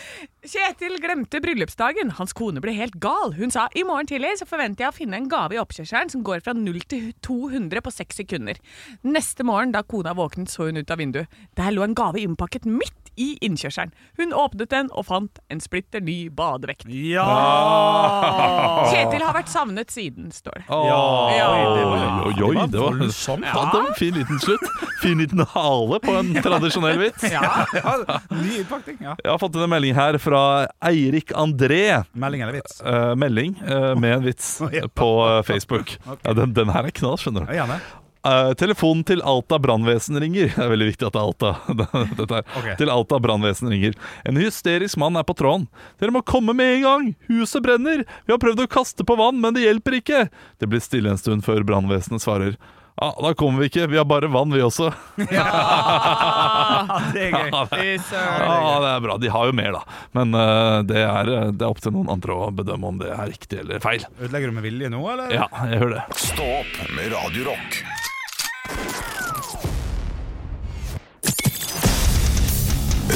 S2: Kjetil glemte bryllupsdagen. Hans kone ble helt gal. Hun sa i morgen tidlig så forventer jeg å finne en gave i oppkjørselen som går fra 0 til 200 på 6 sekunder. Neste morgen da kona våknet, så hun ut av vinduet. Der lå en gave innpakket midt i innkjørselen. Hun åpnet den og fant en splitter ny badevekt.
S3: Ja!
S1: Ah.
S2: Kjetil har vært savnet siden, står det.
S1: Oi,
S2: Ja.
S1: oi, oi, det var
S3: voldsomt.
S1: Ja, det var en fin liten slutt. Fin liten hale på en tradisjonell vits.
S3: Ja, ja. Ny innpakning. Ja.
S1: Jeg har fått inn en melding her fra Eirik André.
S3: Melding eller vits?
S1: Eh, melding eh, med en vits på eh, Facebook. Ja, den, den her er knall, skjønner du.
S3: Ja, gjerne.
S1: Eh, telefonen til Alta brannvesen ringer. Det er veldig viktig at det er Alta. Dette her.
S3: Ok.
S1: Til Alta brannvesen ringer. En hysterisk mann er på tråden. Dere må komme med en gang! Huset brenner! Vi har prøvd å kaste på vann, men det hjelper ikke! Det blir stille en stund før brannvesenet svarer. Ja, da kommer vi ikke. Vi har bare vann, vi også. Ah,
S3: Det er gøy.
S2: Fy søren.
S1: Ja, Ah, det er bra. De har jo mer, da. Men eh, det, er, det er opp til noen andre å bedømme om det er riktig eller feil.
S3: Ødelegger du med vilje nå, eller?
S1: Ja, jeg hører det.
S5: Stå opp med Radio Rock.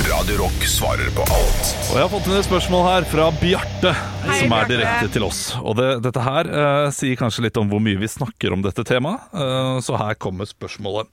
S5: Radio Rock svarer på alt
S1: Og jeg har fått inn et spørsmål her fra Bjarte,
S2: Hei,
S1: som er
S2: Bjarte.
S1: direkte til oss. Og det, dette her eh, sier kanskje litt om hvor mye vi snakker om dette temaet, eh, så her kommer spørsmålet.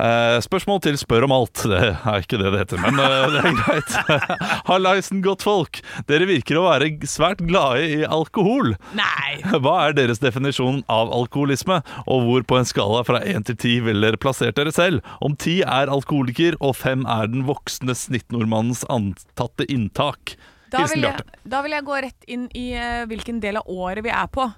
S1: Eh, spørsmål til spør om alt. Det er ikke det det heter, men eh, det er greit. Hallaisen, godtfolk. Dere virker å være svært glade i alkohol.
S2: Nei.
S1: Hva er deres definisjon av alkoholisme, og hvor på en skala fra 1 til 10 vil dere plassert dere selv? Om 10 er alkoholiker, og 5 er den voksne snittnordmannens antatte inntak.
S2: Da
S1: Hilsen
S2: vil, jeg,
S1: Bjarte.
S2: da vil jeg gå rett inn i eh, hvilken del av året vi er på.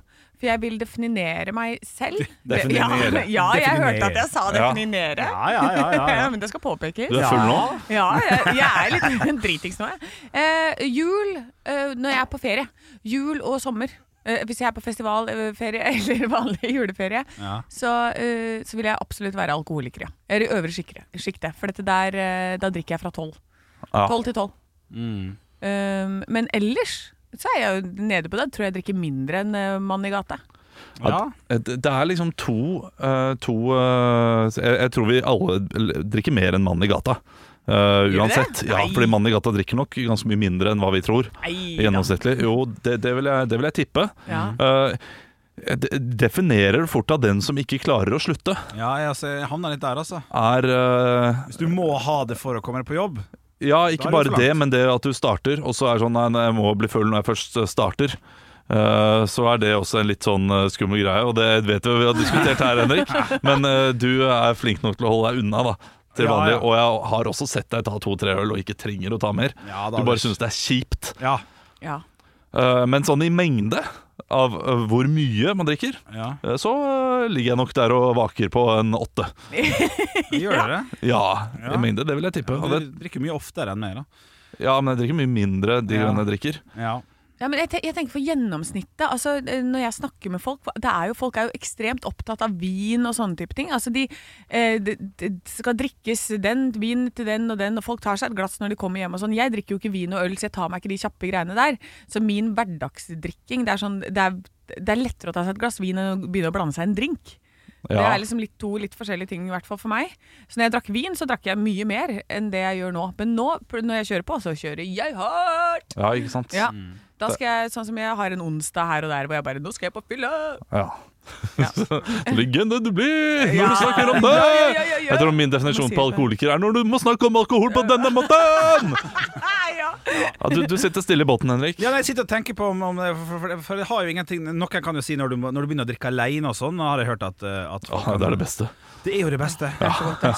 S2: For jeg vil definere meg selv.
S3: Definere.
S2: Ja, ja, jeg
S3: Definere.
S2: hørte at jeg sa definere.
S3: Ja, ja, ja, ja, ja.
S2: Men det skal påpekes.
S1: Du er full nå?
S2: Ja, jeg, jeg er litt dritings nå, jeg. Eh, jul eh, når jeg er på ferie. Jul og sommer. Eh, hvis jeg er på festivalferie eller vanlig juleferie,
S3: Ja.
S2: så, eh, så vil jeg absolutt være alkoholiker, ja. Eller i øvre sjikre- sjikte. For dette der, eh, da drikker jeg fra tolv.
S1: Ja.
S2: Tolv til tolv. Um, men ellers så er jeg jo nede på det. Tror jeg drikker mindre enn eh, mann i gata.
S3: Ja.
S1: Det det er liksom to, eh, to eh, jeg, jeg tror vi alle l- drikker mer enn mann i gata. eh,
S2: vi
S1: uansett.
S2: det?
S1: Ja,
S2: Nei.
S1: fordi mannen i gata drikker nok ganske mye mindre enn hva vi tror.
S2: Nei da.
S1: Gjennomsnittlig. Jo, det, det, vil jeg, det vil jeg tippe.
S2: Ja.
S1: Eh, jeg de- definerer fort av den som ikke klarer å slutte.
S3: ja jeg, altså, jeg havner litt der, altså.
S1: er eh,
S3: Hvis du må ha det for å komme deg på jobb
S1: Ja,
S3: Da
S1: ikke
S3: er det
S1: bare
S3: for langt.
S1: det, men det at du starter, og så er det sånn Nei, nei, jeg må bli full når jeg først eh, starter. Eh, så er det også en litt sånn eh, skummel greie, og det vet vi vi har diskutert her, Henrik. Men eh, du er flink nok til å holde deg unna, da. Til
S3: Ja,
S1: vanlig.
S3: ja.
S1: Og jeg har også sett deg ta to-tre øl og ikke trenger å ta mer.
S3: Ja, da,
S1: du bare
S3: Anders.
S1: syns det er kjipt.
S3: Ja.
S2: Ja.
S1: Eh, men sånn i mengde av eh, hvor mye man drikker,
S3: Ja.
S1: eh, så eh, ligger jeg nok der og vaker på en åtte.
S3: Gjør dere det?
S1: Ja,
S3: Ja.
S1: i mengde. Det vil jeg tippe. Og det,
S3: Du drikker mye oftere enn meg, da.
S1: ja, men jeg drikker mye mindre de
S3: Ja.
S1: gangene jeg drikker.
S3: Ja.
S2: Ja, men jeg, te- jeg tenker for gjennomsnittet. Altså, eh, når jeg snakker med folk det er jo, Folk er jo ekstremt opptatt av vin og sånne type ting. Altså, de, eh, det- det skal drikkes den vin til den og den, og folk tar seg et glass når de kommer hjem. og sånn. Jeg drikker jo ikke vin og øl, så jeg tar meg ikke de kjappe greiene der. Så min hverdagsdrikking, det er, sånn, det er, det er lettere å ta seg et glass vin enn å begynne å blande seg en drink. Det
S1: Ja.
S2: er liksom litt, to litt forskjellige ting, i hvert fall for meg. Så når jeg drakk vin, så drakk jeg mye mer enn det jeg gjør nå. Men nå, pr- når jeg kjører på, så kjører jeg hardt!
S1: ja, ikke sant?
S2: Ja. Da skal jeg, sånn som jeg har en onsdag her og der hvor jeg bare Nå skal jeg på fylla!
S1: Ja. Legende du blir når
S2: Ja.
S1: du snakker om det!
S2: Ja, ja, ja, ja, ja.
S1: Jeg tror min definisjon
S2: Man sier
S1: på alkoholiker er når du må snakke om alkohol på denne måten!
S2: Nei, ja.
S1: Ja, du, du sitter stille i båten, Henrik.
S3: Ja, nei, jeg sitter og tenker på om, om det, for, for, for det har jo ingenting Noen kan jo si når du, må- når du begynner å drikke alene og sånn, har jeg hørt at, eh, at
S1: Åh, det er det beste.
S3: Det er jo det beste.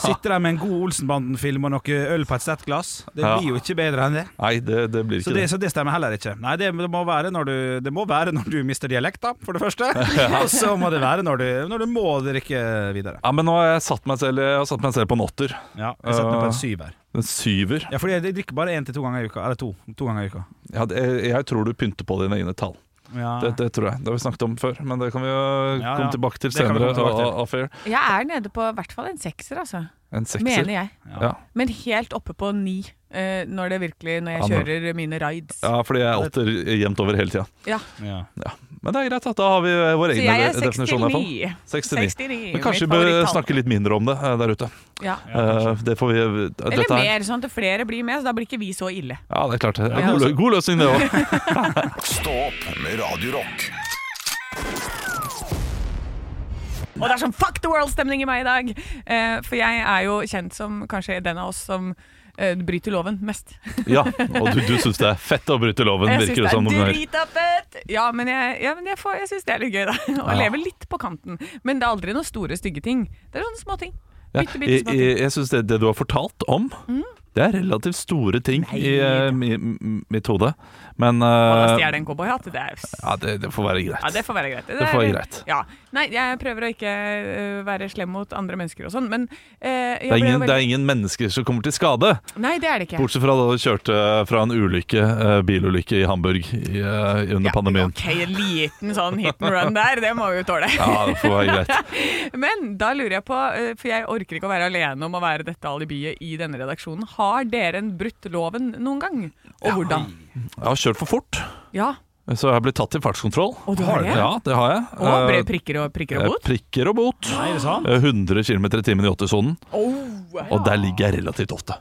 S3: Sitter der med en god Olsenbanden-film og noe øl på et settglass. Det
S1: Ja.
S3: blir jo ikke bedre enn det.
S1: Nei, det, det blir
S3: Så
S1: ikke
S3: det,
S1: det.
S3: så det stemmer heller ikke. Nei, det, det, må være når du, det må være når du mister dialekta, for det første. Og så må det være når du, når du må drikke videre.
S1: Ja, men nå har jeg satt meg selv, jeg har satt meg selv på en åtter.
S3: Ja, jeg satte meg på en syver.
S1: En syver.
S3: Ja, fordi jeg drikker bare én til to ganger i uka. Eller to. To ganger i uka.
S1: Ja, det, jeg tror du pynter på dine egne tall.
S3: Ja.
S1: Det, det tror jeg. Det har vi snakket om før, men det kan vi jo
S3: Ja, ja.
S1: komme tilbake til
S3: Det kan vi
S1: senere.
S3: komme tilbake til.
S1: av- av fair.
S2: Jeg er nede på i hvert fall en sekser, altså.
S1: En sekser.
S2: Mener jeg.
S1: Ja.
S2: Men helt oppe på ni eh, når det virkelig Når
S1: Ja,
S2: jeg
S1: når-
S2: kjører mine rides.
S1: Ja, fordi jeg åtter jevnt over hele tida.
S2: Ja.
S3: Ja.
S1: Men det er greit, at da har vi eh, vår
S2: Så
S1: egen
S2: jeg er
S1: definisjon. i hvert fall.
S2: 69.
S1: 69.
S2: 69,
S1: Men kanskje
S2: mitt
S1: vi bør
S2: favorittall.
S1: snakke litt mindre om det eh, der ute.
S2: Ja.
S1: Eh, det får vi
S2: Eller
S1: dette her-
S2: mer, sånn at flere blir med, så da blir ikke vi så ille.
S1: Ja, det er klart. Det er god,
S3: altså.
S1: lø- god løsning, det òg.
S5: Stå opp med Radio Rock.
S2: Og det er sånn fuck the world-stemning i meg i dag! Eh, for jeg er jo kjent som kanskje den av oss som eh, bryter loven mest.
S1: Ja, og du, du syns det er fett å bryte loven,
S2: Jeg syns
S1: virker det som.
S2: det
S1: noen
S2: er
S1: ganger.
S2: drita fett! Ja, men jeg, ja, men jeg, får- jeg syns det er litt gøy, da. Å
S1: Ja.
S2: leve litt på kanten. Men det er aldri noen store, stygge ting. Det er sånne små ting.
S1: Ja,
S2: Bitte, Mm. bitte
S1: jeg
S2: små ting.
S1: jeg, jeg syns det, det du har fortalt om, det er relativt store ting i eh, mi- m- mitt hode. Men
S2: Og da
S1: eh,
S2: stjeler en cowboyhatt. Det, er-
S1: ja, det, det får være greit.
S2: ja, det får være greit.
S1: Det får være greit.
S2: Ja. Nei, jeg prøver å ikke eh, være slem mot andre mennesker og sånn, men eh, jeg
S1: Det er,
S2: ble jo
S1: ingen, det
S2: veldig-
S1: er ingen mennesker som kommer til skade,
S2: Nei, det er det ikke.
S1: bortsett fra da du kjørte fra en ulykke, eh, bilulykke i Hamburg i, eh, under pandemien.
S2: Ok, en liten sånn hit and run der, det må vi jo tåle.
S1: Ja, det får være greit.
S2: Men da lurer jeg på, eh, for jeg orker ikke å være alene om å være dette alibiet i denne redaksjonen. Har dere en brutt loven noen gang? Og hvordan?
S1: Jeg har kjørt for fort,
S2: Ja.
S1: så jeg har blitt tatt i fartskontroll.
S2: Og du har det?
S1: Ja, det har jeg.
S2: Og ble
S1: Eh,
S2: prikker og prikker og bot?
S1: Prikker og bot.
S3: Nei, er det sant?
S1: Eh, 100 km i timen i 80-sonen,
S2: Oh, ja.
S1: og der ligger jeg relativt ofte.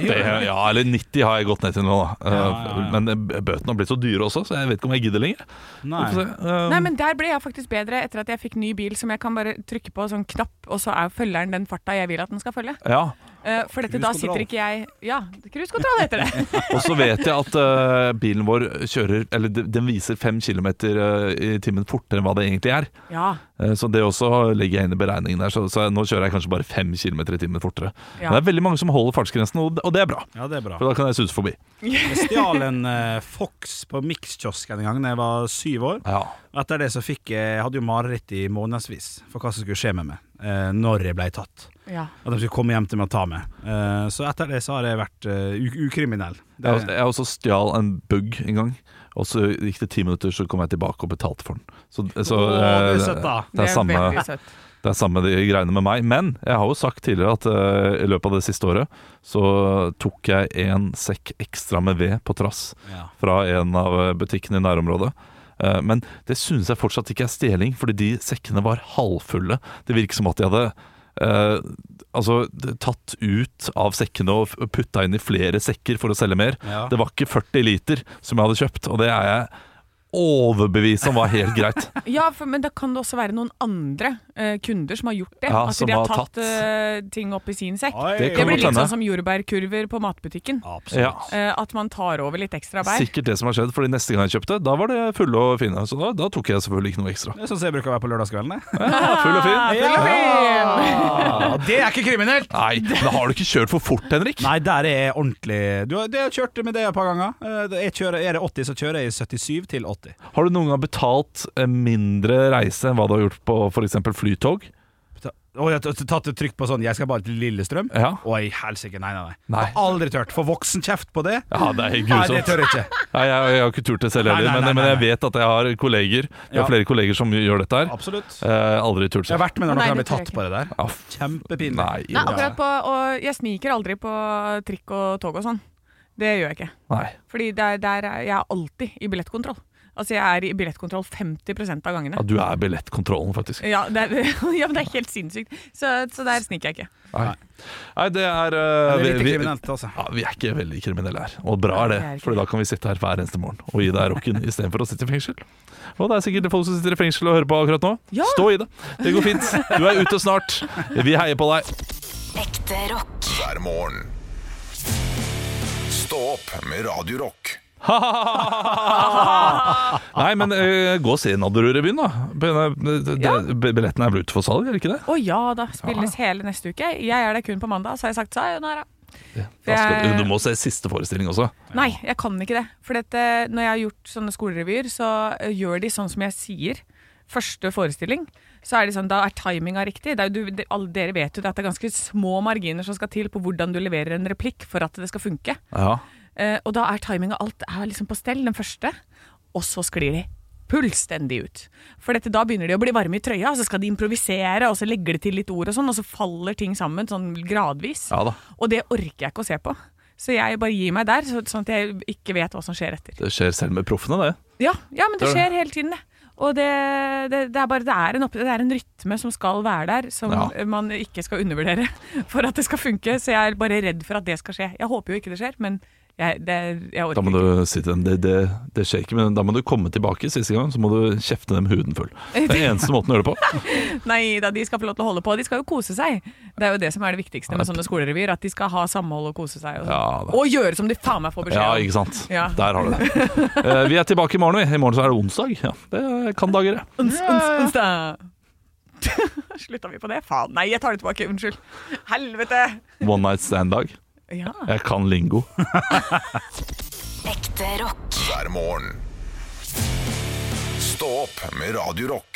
S1: Det, ja, Eller 90 har jeg gått ned til nå, da. Eh,
S3: Ja, ja, ja.
S1: Men eh, bøtene har blitt så dyre også, så jeg vet ikke om jeg gidder lenger.
S3: Nei.
S1: Vi får se. Eh,
S2: Nei, men Der ble jeg faktisk bedre etter at jeg fikk ny bil som jeg kan bare trykke på sånn knapp, og så er følgeren den farta jeg vil at den skal følge.
S1: ja.
S2: Eh, for dette, da sitter
S3: Cruisekontroll.
S2: ikke jeg Ja, cruisekontroll heter det.
S1: Og så vet jeg at eh, bilen vår kjører Eller de- den viser 5 km i timen fortere enn hva det egentlig er.
S2: Ja,
S1: Eh, Så det også legger jeg inn i beregningen der. Så, så nå kjører jeg kanskje bare 5 km i timen fortere.
S2: Ja.
S1: Men det er veldig mange som holder fartsgrensen, og og det er bra.
S3: Ja, det er bra.
S1: For da kan jeg suse forbi.
S3: Jeg stjal en eh, Fox på Mix-kiosken en gang da jeg var syv år.
S1: Ja.
S3: Etter det så fikk jeg Jeg hadde jo mareritt i månedsvis for hva som skulle skje med meg eh, når jeg ble tatt.
S2: ja.
S3: At de skulle komme hjem til meg og ta meg. Eh, så etter det så har jeg vært eh, u- ukriminell. Det,
S1: Jeg, jeg også stjal en bug en gang. Og så gikk det ti minutter, så kom jeg tilbake og betalte for den. Så, så
S3: Åh,
S1: eh,
S3: det er søtt, da.
S1: det er samme,
S2: veldig søtt.
S1: det er samme de greiene med meg. Men jeg har jo sagt tidligere at eh, i løpet av det siste året så tok jeg en sekk ekstra med ved på trass
S3: ja.
S1: fra en av butikkene i nærområdet. Eh, Men det synes jeg fortsatt ikke er stjeling, fordi de sekkene var halvfulle. Det virker som at de hadde eh, altså, tatt ut av sekkene og f- putta inn i flere sekker for å selge mer.
S3: Ja.
S1: Det var ikke 40 liter som jeg hadde kjøpt, og det er jeg overbevist om var helt greit.
S2: Ja, for, men da kan det også være noen andre eh, kunder som har gjort det.
S1: Ja,
S2: at
S1: som
S2: de har
S1: har
S2: tatt,
S1: tatt.
S2: eh, ting opp i sin sekk.
S3: Oi,
S1: Det
S2: Det
S1: kan
S2: blir
S1: godt
S2: litt
S1: hende.
S2: sånn som jordbærkurver på matbutikken.
S3: Absolutt.
S1: Ja.
S2: Eh, at man tar over litt ekstra bær.
S1: Sikkert det som har skjedd, fordi neste gang jeg kjøpte, da var det fulle og fine. Så da, da tok jeg selvfølgelig ikke noe ekstra.
S3: Det er sånn som jeg bruker å være på lørdagskveldene.
S1: Ja, full og fin.
S3: Ja, det er ikke kriminelt!
S1: Nei, men har du ikke kjørt for fort, Henrik?
S3: Nei, der er jeg ordentlig Du har, det har jeg kjørt med det et par ganger. Eh, Jeg kjører, er det 80, så kjører jeg i 77 til 80. alltid.
S1: Har du noen gang betalt eh, mindre reise enn hva du har gjort på f.eks. flytog?
S3: Ta- Og jeg har t- tatt et trykk på sånn 'Jeg skal bare til Lillestrøm'.
S1: Ja.
S3: Og jeg helsike, nei, nei, nei.
S1: Nei.
S3: Jeg har aldri tørt. Få voksenkjeft på det?
S1: Ja, det er
S3: Nei, det
S1: grusomt.
S3: tør jeg ikke.
S1: Nei, jeg, jeg har ikke turt det selv
S3: Nei,
S1: heller,
S3: nei, nei,
S1: men, men jeg
S3: nei, nei.
S1: vet at jeg har kolleger Jeg har
S3: Ja.
S1: flere kolleger som gjør dette her.
S3: Absolutt.
S1: Eh, aldri turt
S3: Jeg har
S1: selv.
S3: vært med når
S2: Nei,
S3: noen har
S2: det
S3: blitt
S2: tør jeg
S3: tatt på det der.
S1: Ja, f-
S3: Kjempepinlig.
S1: Nei,
S2: Nei,
S1: Ida.
S2: akkurat på Og jeg sniker aldri på trikk og tog og sånn. Det gjør jeg ikke.
S1: nei.
S2: Fordi der, der er jeg er alltid i billettkontroll. Altså, jeg er i billettkontroll 50 av
S1: Ja,
S2: gangene.
S1: du er billettkontrollen, faktisk.
S2: Ja, det er, ja, men det er helt sinnssykt. Så, så der sniker jeg ikke.
S1: Nei, nei det er
S3: Det
S1: eh,
S3: er
S1: vi-
S3: litt
S1: vi-
S3: kriminelt, altså.
S1: Ja, Vi er ikke veldig kriminelle her, og bra er det.
S2: Nei, vi er ikke
S1: For da kan vi sitte her hver eneste morgen og gi deg rocken istedenfor å sitte i fengsel. Og det er sikkert folk som sitter i fengsel og hører på akkurat nå.
S2: Ja.
S1: Stå i det. Det går fint. Du er ute snart. Vi heier på deg.
S4: Ekte rock.
S5: hver morgen. Stå opp med Radio Rock.
S1: Nei, men eh, gå og se Nadderud-revyen, da. Be- det-
S2: Ja.
S1: det- Billettene er vel ute for salg, er det ikke det?
S2: Å ja da, spilles hele neste uke. Jeg er der kun på mandag, så har jeg sagt sayonara.
S1: Da skal,
S2: Jeg-
S1: du må se siste forestilling også.
S2: Nei, jeg kan ikke det. For dette, når jeg har gjort sånne skolerevyer, så eh, gjør de sånn som jeg sier. Første forestilling, så er det sånn, da er timinga riktig. Det er, jo- du, de, alle, dere vet jo det at det er ganske små marginer som skal til på hvordan du leverer en replikk for at det skal funke.
S1: Ja.
S2: Eh, og da er timinga alt er liksom på stell, den første. Og så sklir de fullstendig ut. For dette, da begynner de å bli varme i trøya, og så skal de improvisere, og så legger de til litt ord og sånn, og så faller ting sammen sånn gradvis.
S1: Ja da.
S2: Og det orker jeg ikke å se på. Så jeg bare gir meg der, så, sånn at jeg ikke vet hva som skjer etter.
S1: Det skjer selv med proffene, det.
S2: Ja, ja men det
S1: Det er det.
S2: skjer hele tiden, det. Og det, det, det er bare det er, en opp, det er en rytme som skal være der, som
S1: Ja.
S2: man ikke skal undervurdere for at det skal funke. Så jeg er bare redd for at det skal skje. Jeg håper jo ikke det skjer, men jeg, det, jeg
S1: Da
S2: orker
S1: må
S2: ikke.
S1: du si til dem det, det, det skjer ikke, men da må du komme tilbake siste gang, så må du kjefte dem huden full. Det er den eneste måten å gjøre det på.
S2: Nei da, de skal få lov til å holde på. De skal jo kose seg. Det er jo det som er det viktigste med sånne skolerevyer, at de skal ha samhold og kose seg.
S1: Ja,
S2: Og, sånn.
S1: da.
S2: og gjøre som de faen meg får beskjed
S1: Ja,
S2: om.
S1: ikke sant.
S2: Ja.
S1: Der har du det. Eh, vi er tilbake i morgen, vi. I morgen så er det onsdag. Ja, det kan dager, det.
S2: Ons, ons, onsdag. Slutta vi på det? Faen, nei, jeg tar det tilbake. Unnskyld. Helvete!
S1: One night stand-dag.
S2: Ja.
S1: Jeg kan lingo.
S4: Ekte rock.
S5: hver morgen. Stå opp med Radio Rock.